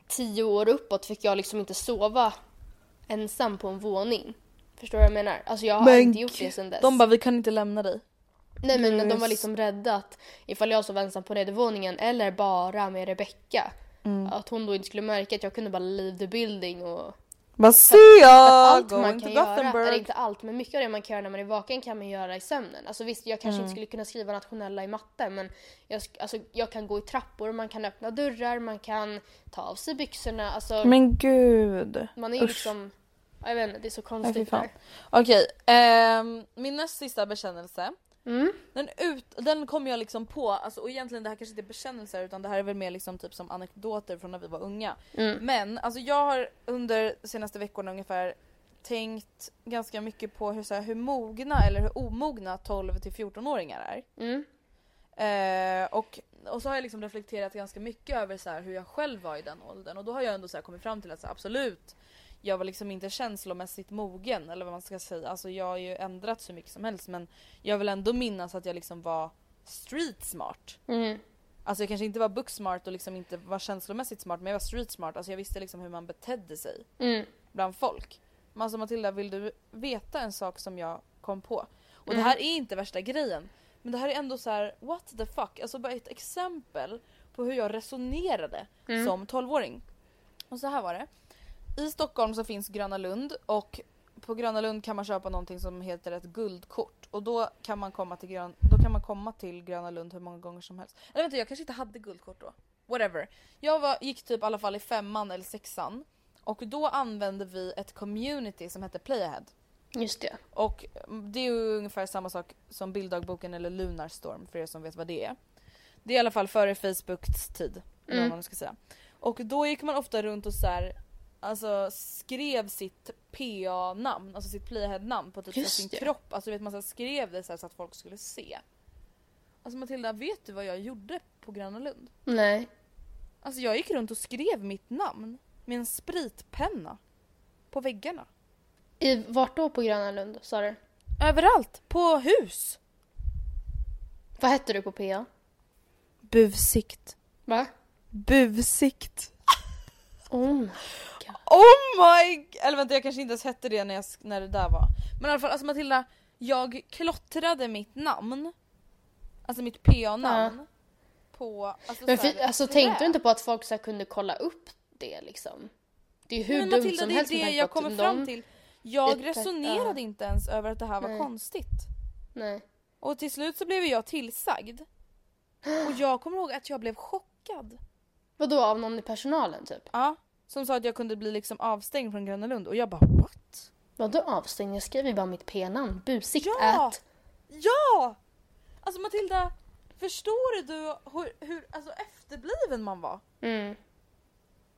Speaker 1: 10 år uppåt fick jag liksom inte sova ensam på en våning. Förstår du vad jag menar? Alltså jag har inte gjort det sen dess.
Speaker 2: De bara vi kan inte lämna dig.
Speaker 1: Nej men de var
Speaker 2: Yes.
Speaker 1: liksom rädda att ifall jag sov ensam på nedervåningen eller bara med Rebecca
Speaker 2: Mm.
Speaker 1: att hon då inte skulle märka att jag kunde bara leave the building och
Speaker 2: Vad ser jag?
Speaker 1: allt
Speaker 2: Going
Speaker 1: man
Speaker 2: to
Speaker 1: kan göra, eller
Speaker 2: Gothenburg.
Speaker 1: inte allt men mycket av det man kan göra när man är vaken kan man göra i sömnen. Alltså visst jag kanske
Speaker 2: Mm.
Speaker 1: inte skulle kunna skriva nationella i matte men jag, sk- alltså, jag kan gå i trappor, man kan öppna dörrar, man kan ta av sig byxorna, alltså
Speaker 2: Men gud.
Speaker 1: man är ju
Speaker 2: usch.
Speaker 1: liksom, ja, jag vet inte, det är så
Speaker 2: Nej, fy
Speaker 1: konstigt
Speaker 2: fan.
Speaker 1: där.
Speaker 2: Okej, ehm, min näst sista bekännelse.
Speaker 1: Mm.
Speaker 2: Den, ut, den kom jag liksom på, alltså, och egentligen det här kanske inte är bekännelser utan det här är väl mer liksom typ som anekdoter från när vi var unga.
Speaker 1: Mm.
Speaker 2: Men alltså jag har under de senaste veckorna ungefär tänkt ganska mycket på hur, så här, hur mogna eller hur omogna 12 till 14-åringar är.
Speaker 1: Mm.
Speaker 2: Eh, och, och så har jag liksom reflekterat ganska mycket över så här, hur jag själv var i den åldern och då har jag ändå så här kommit fram till att så här, absolut jag var liksom inte känslomässigt mogen eller vad man ska säga. Alltså jag har ju ändrats hur mycket som helst men jag vill ändå minnas att jag liksom var street smart.
Speaker 1: Mm.
Speaker 2: Alltså jag kanske inte var book smart och liksom inte var känslomässigt smart men jag var street smart. Alltså jag visste liksom hur man betedde sig
Speaker 1: Mm.
Speaker 2: bland folk. Men alltså Matilda, vill du veta en sak som jag kom på? Och det här är inte värsta grejen. Men det här är ändå så här: what the fuck? Alltså bara ett exempel på hur jag resonerade som 12-åring. Och så här var det. I Stockholm så finns Gröna Lund och på Gröna Lund kan man köpa någonting som heter ett guldkort och då kan man komma till, Grön, då kan man komma till Gröna Lund hur många gånger som helst. Eller vänta jag kanske inte hade guldkort då. Whatever. Jag var, gick typ i alla fall i femman eller sexan och då använde vi ett community som hette Playahead.
Speaker 1: Just det.
Speaker 2: Och det är ju ungefär samma sak som bilddagboken eller Lunarstorm för er som vet vad det är. Det är i alla fall före Facebooks tid. eller
Speaker 1: Mm.
Speaker 2: Vad man ska säga. Och då gick man ofta runt och så här, alltså skrev sitt PA-namn, alltså sitt Playahead-namn på typ så här
Speaker 1: Just
Speaker 2: sin
Speaker 1: det.
Speaker 2: kropp. Alltså du vet man så här, skrev det så, här, så att folk skulle se. Alltså Matilda, vet du vad jag gjorde på Gröna Lund?
Speaker 1: Nej.
Speaker 2: Alltså jag gick runt och skrev mitt namn med en spritpenna på väggarna.
Speaker 1: I, vart då på Gröna Lund sa du?
Speaker 2: Överallt! På hus!
Speaker 1: Vad hette du på PA?
Speaker 2: Buvsikt.
Speaker 1: Va?
Speaker 2: Buvsikt.
Speaker 1: Oh.
Speaker 2: Oh my... g- Eller vänta jag kanske inte ens hette det när, jag, sk- när det där var. Men i alla fall alltså Matilda, jag klottrade mitt namn. Alltså mitt PA-namn. På... Alltså,
Speaker 1: Men
Speaker 2: så
Speaker 1: för,
Speaker 2: här,
Speaker 1: alltså
Speaker 2: trä.
Speaker 1: tänkte du inte på att folk så här, kunde kolla upp det liksom? Det är ju hur
Speaker 2: Men
Speaker 1: dumt
Speaker 2: Matilda
Speaker 1: som
Speaker 2: det är
Speaker 1: helst
Speaker 2: det
Speaker 1: med tanke
Speaker 2: jag
Speaker 1: på att
Speaker 2: kommer fram
Speaker 1: de-
Speaker 2: till. Jag
Speaker 1: Ursäkta.
Speaker 2: resonerade inte ens över att det här var
Speaker 1: Nej.
Speaker 2: konstigt.
Speaker 1: Nej.
Speaker 2: Och till slut så blev jag tillsagd. Och jag kommer ihåg att jag blev chockad.
Speaker 1: Vadå av någon i personalen typ?
Speaker 2: Ja. Som sa att jag kunde bli liksom avstängd från Gröna Lund och jag bara what?
Speaker 1: Vadå avstängd? Jag skriver ju bara mitt p-namn. Busigt
Speaker 2: Ja!
Speaker 1: ät.
Speaker 2: Ja! Alltså Matilda, förstår du hur, hur alltså, efterbliven man var?
Speaker 1: Mm.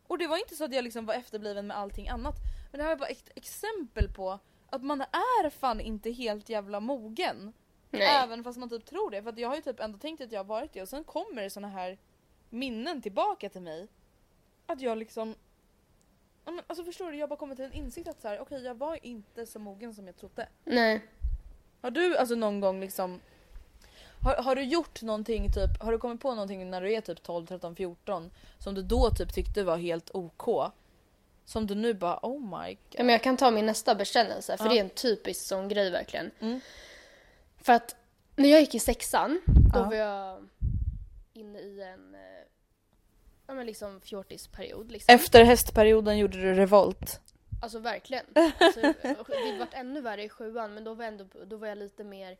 Speaker 2: Och det var inte så att jag liksom var efterbliven med allting annat. Men det här var bara ett exempel på att man är fan inte helt jävla mogen.
Speaker 1: Nej.
Speaker 2: Även fast man typ tror det. För att jag har ju typ ändå tänkt att jag har varit det och sen kommer det såna här minnen tillbaka till mig. Att jag liksom... Ja, men Alltså förstår du, jag har bara kommit till en insikt att så här, okej jag var inte så mogen som jag trodde.
Speaker 1: Nej.
Speaker 2: Har du alltså någon gång liksom... Har, har du gjort någonting typ, har du kommit på någonting när du är typ 12, 13, 14 som du då typ tyckte var helt OK? Som du nu bara oh my god.
Speaker 1: Ja, men jag kan ta min nästa bekännelse, för det är en typisk sån grej verkligen.
Speaker 2: Mm.
Speaker 1: För att när jag gick i sexan, då var jag inne i en eh, ja, men liksom fjortisperiod. Liksom.
Speaker 2: Efter hästperioden gjorde du revolt.
Speaker 1: Alltså
Speaker 2: (laughs)
Speaker 1: verkligen. Alltså, det vart ännu värre i sjuan, men då var, jag ändå, då var jag lite mer,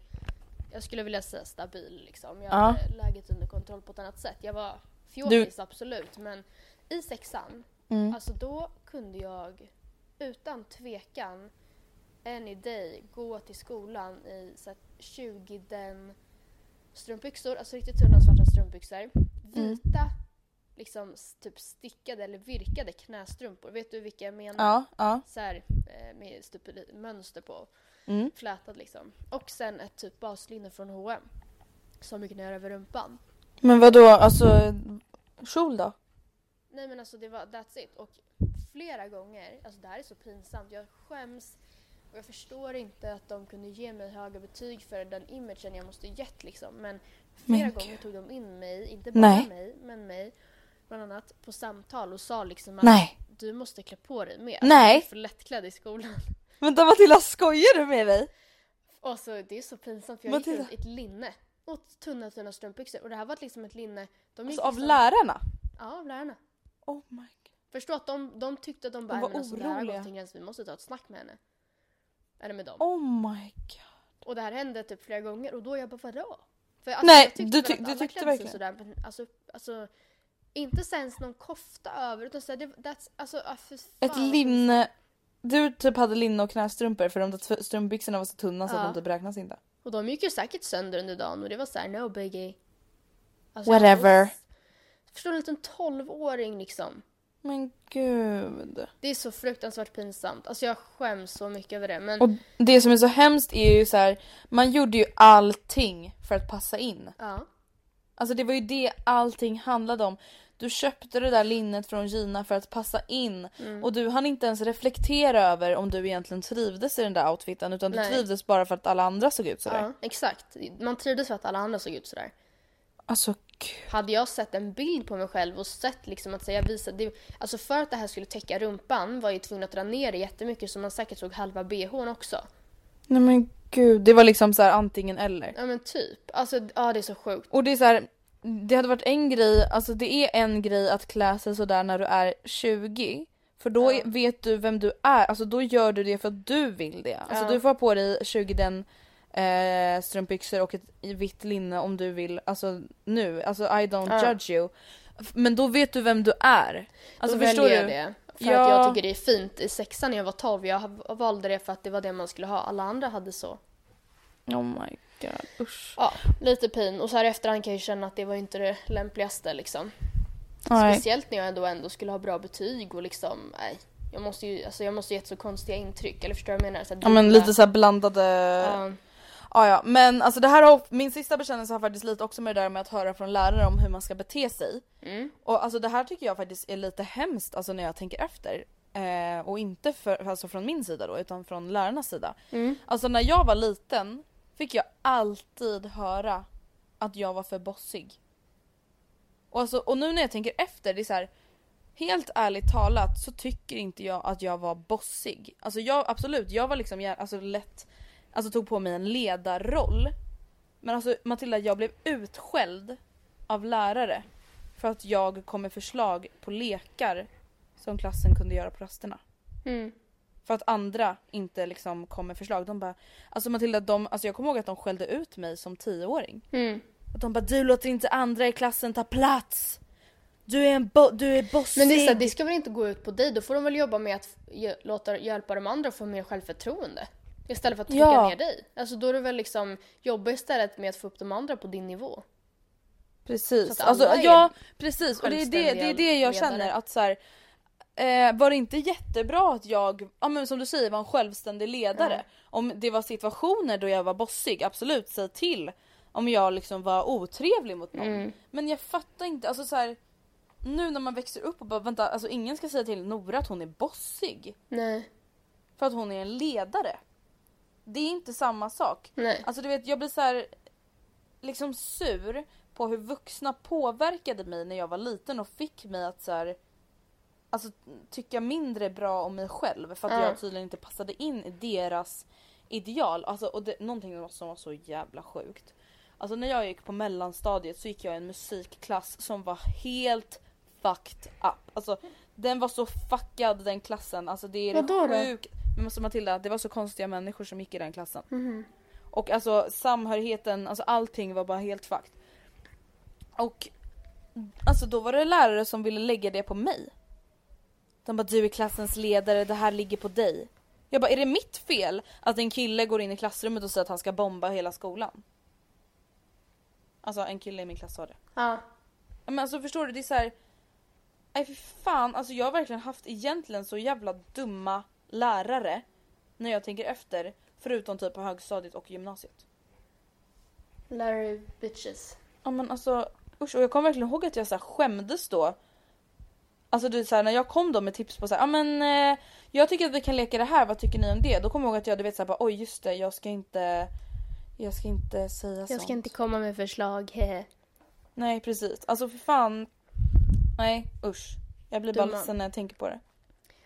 Speaker 1: jag skulle vilja säga stabil liksom. Jag
Speaker 2: Ja.
Speaker 1: hade läget under kontroll på ett annat sätt. Jag var fjortis absolut, men i sexan,
Speaker 2: Mm.
Speaker 1: alltså då kunde jag utan tvekan any day gå till skolan i så här 20 den strumpbyxor, alltså riktigt tunna svarta
Speaker 2: Mm.
Speaker 1: strumpbyxor. Vita, liksom s- typ stickade eller virkade knästrumpor. Vet du vilka jag menar?
Speaker 2: Ja, ja.
Speaker 1: Så här, eh, med typ li- mönster på.
Speaker 2: Mm.
Speaker 1: Flätad liksom. Och sen ett typ baslinne från H&M Som gick ner över rumpan.
Speaker 2: Men vad då alltså kjol då?
Speaker 1: Nej men alltså det var that's it. Och flera gånger, alltså det här är så pinsamt, jag skäms och jag förstår inte att de kunde ge mig höga betyg för den imagen jag måste gett liksom. Men flera
Speaker 2: Men
Speaker 1: gånger tog de in mig, inte bara
Speaker 2: Nej.
Speaker 1: mig, men mig bland annat på samtal och sa liksom att
Speaker 2: Nej.
Speaker 1: du måste klä på dig mer.
Speaker 2: Nej.
Speaker 1: Du är För lättklädd i skolan.
Speaker 2: Vänta Matilda skojar du med mig?
Speaker 1: Och så, det är så pinsamt för jag
Speaker 2: Matilda.
Speaker 1: gick runt i ett linne och tunna tunna strumpbyxor och det här var liksom ett linne. De gick
Speaker 2: Alltså av
Speaker 1: liksom-
Speaker 2: lärarna?
Speaker 1: Ja, av lärarna.
Speaker 2: Oh my god.
Speaker 1: Förstå att de, de tyckte att de bara,
Speaker 2: De var
Speaker 1: "Nej, men alltså, det här har
Speaker 2: oroliga."
Speaker 1: gått till gräns, vi måste ta ett snack med henne. Eller med dem.
Speaker 2: Oh my god.
Speaker 1: Och det här hände typ flera gånger och då jag bara vadå? För alltså,
Speaker 2: Nej,
Speaker 1: jag tyckte
Speaker 2: du
Speaker 1: väl
Speaker 2: ty-
Speaker 1: att
Speaker 2: du
Speaker 1: alla
Speaker 2: tyckte
Speaker 1: klädde sig
Speaker 2: verkligen.
Speaker 1: Sådär, men alltså, alltså, inte så ens någon kofta över utan såhär, det, that's, alltså, ah, för
Speaker 2: Ett
Speaker 1: fan.
Speaker 2: linne. Du typ hade linne och knästrumpor för de där strumpbyxorna var så tunna så
Speaker 1: Ja.
Speaker 2: att de typ räknas inte.
Speaker 1: Och de gick ju säkert sönder under dagen och det var såhär no biggie. Alltså, jag
Speaker 2: Whatever.
Speaker 1: var- Förstår du, en liten tolvåring liksom.
Speaker 2: Men gud.
Speaker 1: Det är så fruktansvärt pinsamt. Alltså jag skäms så mycket över det. Men
Speaker 2: Och det som är så hemskt är ju så här, man gjorde ju allting för att passa in.
Speaker 1: ja.
Speaker 2: Alltså det var ju det allting handlade om. Du köpte det där linnet från Gina för att passa in
Speaker 1: Mm.
Speaker 2: och du hann inte ens reflektera över om du egentligen trivdes i den där outfiten utan du
Speaker 1: Nej.
Speaker 2: trivdes bara för att alla andra såg ut sådär.
Speaker 1: ja, exakt. Man trivdes för att alla andra såg ut sådär.
Speaker 2: Alltså gud.
Speaker 1: Hade jag sett en bild på mig själv och sett liksom att så jag visade... Det, alltså för att det här skulle täcka rumpan var jag ju tvungen att dra ner det jättemycket så man säkert såg halva bhn också.
Speaker 2: Nej men gud, det var liksom så här antingen eller.
Speaker 1: Ja men typ. Alltså ja det är så sjukt.
Speaker 2: Och det är så här, det hade varit en grej, alltså det är en grej att klä sig sådär när du är 20. För då är- vet du vem du är, alltså då gör du det för att du vill det. Alltså
Speaker 1: Ja.
Speaker 2: du får ha på dig 20 den eh, strumpbyxor och ett i vitt linne om du vill, alltså nu, alltså I don't
Speaker 1: Ja.
Speaker 2: judge you. F- Men då vet du vem du är. Alltså
Speaker 1: Då
Speaker 2: förstår du?
Speaker 1: väljer jag det. För att
Speaker 2: Ja.
Speaker 1: jag tycker det är fint. I sexan när jag var 12 jag ha- valde det för att det var det man skulle ha. Alla andra hade så.
Speaker 2: Oh my god, usch.
Speaker 1: Ja, lite pin. Och så här i efterhand kan jag ju känna att det var ju inte det lämpligaste liksom.
Speaker 2: Nej.
Speaker 1: Speciellt när jag ändå, ändå skulle ha bra betyg och liksom, nej. Jag måste ju, alltså jag måste ju gett så konstiga intryck, eller förstår du vad jag menar? Så här
Speaker 2: Ja men
Speaker 1: dubbla-
Speaker 2: lite såhär blandade
Speaker 1: Ja.
Speaker 2: Ja, ja, men alltså det här har, min sista bekännelse har faktiskt lite också med det där med att höra från lärare om hur man ska bete sig. Och alltså det här tycker jag faktiskt är lite hemskt alltså när jag tänker efter. Eh, och inte för, alltså från min sida då utan från lärarnas sida. Alltså när jag var liten fick jag alltid höra att jag var för bossig. Och, alltså, och nu när jag tänker efter, det är så här. Helt ärligt talat så tycker inte jag att jag var bossig. Alltså jag, absolut, jag var liksom gär- alltså lätt, alltså tog på mig en ledarroll. Men alltså Matilda, jag blev utskälld av lärare för att jag kom med förslag på lekar som klassen kunde göra på rasterna.
Speaker 1: Mm.
Speaker 2: För att andra inte liksom kom med förslag. De bara, alltså Matilda, de, alltså jag kommer ihåg att de skällde ut mig som tioåring.
Speaker 1: Mm.
Speaker 2: Att de bara, du låter inte andra i klassen ta plats! Du är en bo- du är bossig!
Speaker 1: Men det, är så här, det ska väl inte gå ut på dig? Då får de väl jobba med att f- ge- låta, hjälpa de andra att få mer självförtroende. Istället för att trycka
Speaker 2: Ja.
Speaker 1: ner dig. Alltså då är det väl liksom, jobba istället med att få upp de andra på din nivå.
Speaker 2: Precis,
Speaker 1: Så att alla
Speaker 2: alltså,
Speaker 1: är
Speaker 2: ja precis och det är det, det, är det
Speaker 1: självständiga
Speaker 2: jag känner
Speaker 1: ledare.
Speaker 2: att så här, eh, var det inte jättebra att jag, ja men som du säger var en självständig ledare. Om det var situationer då jag var bossig, absolut säg till om jag liksom var otrevlig mot någon.
Speaker 1: Mm.
Speaker 2: Men jag fattar inte, alltså så här, nu när man växer upp och bara vänta, alltså ingen ska säga till Nora att hon är bossig.
Speaker 1: Nej.
Speaker 2: För att hon är en ledare. Det är inte samma sak.
Speaker 1: Nej.
Speaker 2: Alltså du vet, jag blir så här liksom sur på hur vuxna påverkade mig när jag var liten och fick mig att så här alltså tycka mindre bra om mig själv för att
Speaker 1: Ja.
Speaker 2: jag tydligen inte passade in i deras ideal. Alltså och det, någonting som var- som var så jävla sjukt. Alltså när jag gick på mellanstadiet så gick jag i en musikklass som var helt fucked up. Alltså den var så fuckad den klassen. Alltså det är
Speaker 1: Vadå då?
Speaker 2: det sjukt. Men alltså Matilda, det var så konstiga människor som gick i den klassen.
Speaker 1: Mhm.
Speaker 2: Och alltså samhörigheten, alltså allting var bara helt fucked. Och alltså då var det lärare som ville lägga det på mig. De bara du är klassens ledare, det här ligger på dig. Jag bara är det mitt fel att en kille går in i klassrummet och säger att han ska bomba hela skolan? Alltså en kille i min klass sa det.
Speaker 1: Ja.
Speaker 2: Ja, Men alltså förstår du, det är så här. Nej fy fan, alltså jag har verkligen haft egentligen så jävla dumma lärare när jag tänker efter. Förutom typ på högstadiet och gymnasiet.
Speaker 1: Larry bitches.
Speaker 2: Ja men alltså usch, och jag kommer verkligen ihåg att jag så här skämdes då. Alltså du så här, när jag kom då med tips på så här, ja men eh, jag tycker att vi kan leka det här, vad tycker ni om det? Då kommer jag ihåg att jag du vet så här, bara, oj just det, jag ska inte jag ska inte säga sånt.
Speaker 1: Jag ska inte komma med förslag, hehe.
Speaker 2: Nej precis, alltså för fan. Nej usch. Jag blir bara
Speaker 1: Dumma.
Speaker 2: ledsen när jag tänker på det.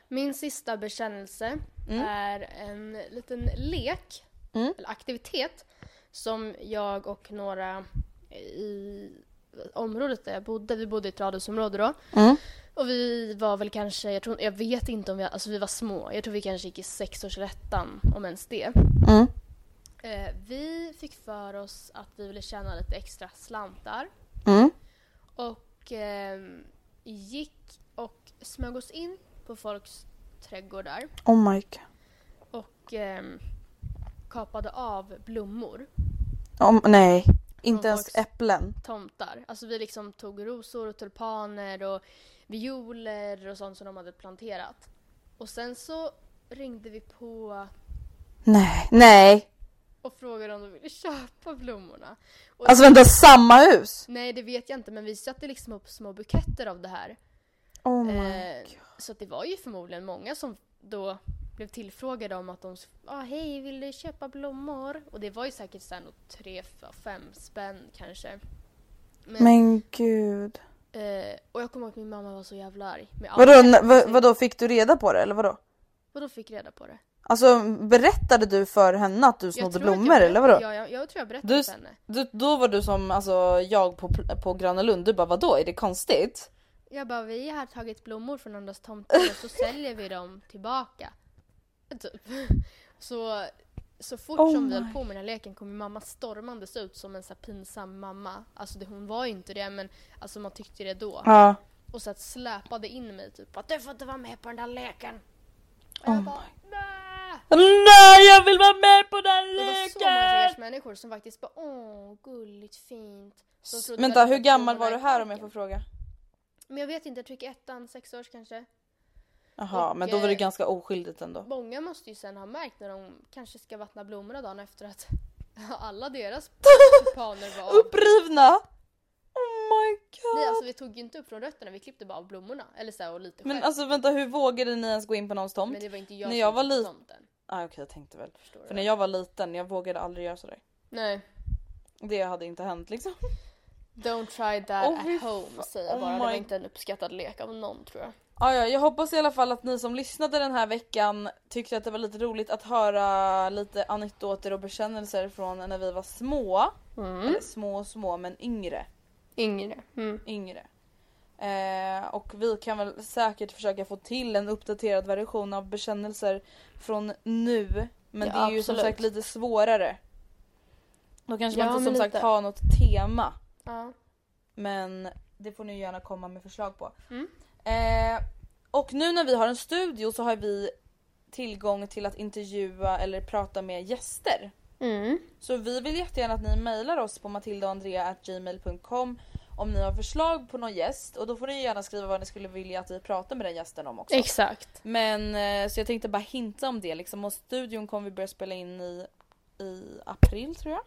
Speaker 1: Min sista bekännelse är en liten lek, eller aktivitet, som jag och några i området där jag bodde, vi bodde i ett radhusområde då. Och vi var väl kanske, jag, tror, jag vet inte om vi, alltså vi var små, jag tror vi kanske gick i sexårsrättan om ens det. Mm. Eh, vi fick för oss att vi ville tjäna lite extra slantar. Och ehm, gick och smög oss in på folks trädgårdar
Speaker 2: Oh my god.
Speaker 1: och ehm, kapade av blommor,
Speaker 2: Om, nej, inte ens
Speaker 1: folks-
Speaker 2: äpplen.
Speaker 1: tomtar. Alltså vi liksom tog rosor och tulpaner och violer och sånt som de hade planterat. Och sen så ringde vi på
Speaker 2: Nej, nej.
Speaker 1: och frågade om de ville köpa blommorna. Och
Speaker 2: Alltså vänta, samma hus?
Speaker 1: Nej det vet jag inte men vi satte liksom upp små buketter av det här.
Speaker 2: Oh my.
Speaker 1: Eh, så att det var ju förmodligen många som då blev tillfrågade om att de s- ah, hej vill du köpa blommor? Och det var ju säkert såhär nog tre, f- fem spänn kanske. Men,
Speaker 2: Men gud.
Speaker 1: Eh, och jag kommer ihåg att min mamma var så jävla arg. Med all
Speaker 2: Vadå,
Speaker 1: rätt.
Speaker 2: n- vad, vadå, fick du reda på det eller vadå?
Speaker 1: Vadå fick reda på det?
Speaker 2: Alltså berättade du för henne att du
Speaker 1: Jag
Speaker 2: snodde
Speaker 1: tror att jag
Speaker 2: blommor eller vadå?
Speaker 1: berättade- Ja, jag, jag tror jag berättade
Speaker 2: Du,
Speaker 1: för henne.
Speaker 2: du, då var du som alltså, jag på, pl- på Gröna Lund, du bara vadå är det konstigt?
Speaker 1: Jag bara, vi har tagit blommor från andras tomter och
Speaker 2: (laughs)
Speaker 1: så säljer vi dem tillbaka. Typ. Så, så fort
Speaker 2: Oh
Speaker 1: som vi
Speaker 2: my.
Speaker 1: höll på med den här leken kom min mamma stormandes ut som en så här pinsam mamma. Alltså det, hon var ju inte det men alltså man tyckte det då.
Speaker 2: Ja.
Speaker 1: Och så att släpade in mig typ att du får inte vara med på den där leken. Och
Speaker 2: Oh
Speaker 1: jag bara, nej!
Speaker 2: Nej jag vill vara med på den
Speaker 1: Det var så många
Speaker 2: leken!
Speaker 1: stackars människor som faktiskt bara åh gulligt fint. Som
Speaker 2: S-
Speaker 1: trodde
Speaker 2: Vänta
Speaker 1: väl
Speaker 2: hur
Speaker 1: att
Speaker 2: gammal
Speaker 1: blommorna
Speaker 2: var
Speaker 1: är
Speaker 2: du här om jag får
Speaker 1: parken.
Speaker 2: fråga?
Speaker 1: Men jag vet inte, jag tror jag gick i ettan, sex års kanske.
Speaker 2: Jaha
Speaker 1: Och,
Speaker 2: men då var det
Speaker 1: eh, (laughs)
Speaker 2: ganska oskyldigt ändå.
Speaker 1: Många måste ju sen ha märkt när de kanske ska vattna blommorna dagen efter att (laughs) Ja, Alla deras tulpaner var av.
Speaker 2: Upprivna! Oh my god!
Speaker 1: Nej, alltså vi tog ju inte upp från rötterna, vi klippte bara av blommorna. Eller så här, och lite
Speaker 2: Men
Speaker 1: själv.
Speaker 2: alltså vänta hur vågade ni ens gå in på någons tomt?
Speaker 1: Men det var inte jag
Speaker 2: när
Speaker 1: som
Speaker 2: jag var
Speaker 1: klippte
Speaker 2: lit-
Speaker 1: tomten.
Speaker 2: Ah, okej jag tänkte väl.
Speaker 1: Förstår
Speaker 2: För
Speaker 1: du?
Speaker 2: när jag var liten jag vågade aldrig göra sådär.
Speaker 1: Nej.
Speaker 2: Det hade inte hänt liksom.
Speaker 1: Don't try that
Speaker 2: Åh, fy
Speaker 1: at home
Speaker 2: fa-
Speaker 1: säger jag
Speaker 2: oh
Speaker 1: bara. Det var
Speaker 2: my-
Speaker 1: inte en uppskattad lek av någon tror jag.
Speaker 2: Ah, ja, jag hoppas i alla fall att ni som lyssnade den här veckan tyckte att det var lite roligt att höra lite anekdoter och bekännelser från när vi var små. Eller små och små men yngre.
Speaker 1: Yngre. Mm.
Speaker 2: yngre. Eh, och vi kan väl säkert försöka få till en uppdaterad version av bekännelser från nu. Men
Speaker 1: Ja,
Speaker 2: det är ju som
Speaker 1: absolut.
Speaker 2: sagt lite svårare. Då kanske
Speaker 1: Ja,
Speaker 2: man inte
Speaker 1: men
Speaker 2: som sagt
Speaker 1: lite.
Speaker 2: har något tema.
Speaker 1: Ja.
Speaker 2: Men det får ni gärna komma med förslag på. Eh, och nu när vi har en studio så har vi tillgång till att intervjua eller prata med gäster.
Speaker 1: Mm.
Speaker 2: Så vi vill jättegärna att ni mejlar oss på matildaandrea.gmail.com om ni har förslag på någon gäst och då får ni gärna skriva vad ni skulle vilja att vi pratar med den gästen om också.
Speaker 1: Exakt.
Speaker 2: Men eh, så jag tänkte bara hinta om det liksom och studion kommer vi börja spela in i, i april tror jag.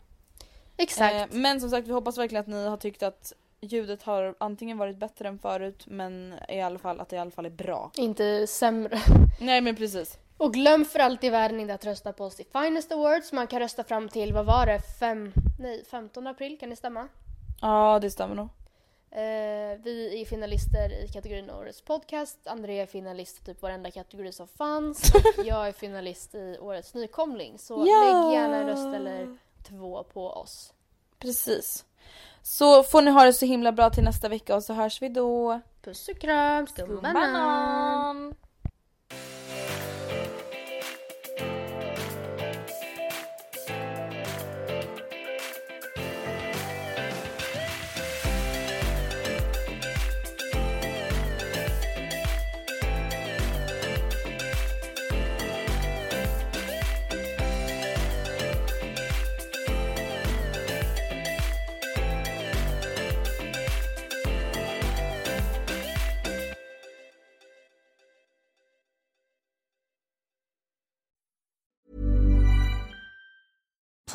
Speaker 1: Exakt.
Speaker 2: Eh, men som sagt vi hoppas verkligen att ni har tyckt att ljudet har antingen varit bättre än förut men i alla fall att det i alla fall är bra.
Speaker 1: Inte sämre.
Speaker 2: Nej men precis.
Speaker 1: Och glöm för allt i världen inte att rösta på oss i Finest Awards. Man kan rösta fram till, vad var det, fem, nej, 15 april, kan det stämma?
Speaker 2: Ja det stämmer nog.
Speaker 1: Eh, vi är finalister i kategorin Årets podcast. Andrea är finalist i typ varenda kategori som fanns. Jag är finalist i Årets nykomling. Så
Speaker 2: Ja!
Speaker 1: lägg gärna en röst eller två på oss.
Speaker 2: Precis. Så får ni ha det så himla bra till nästa vecka och så hörs vi då.
Speaker 1: Puss och kram, skumbanan!
Speaker 2: banan.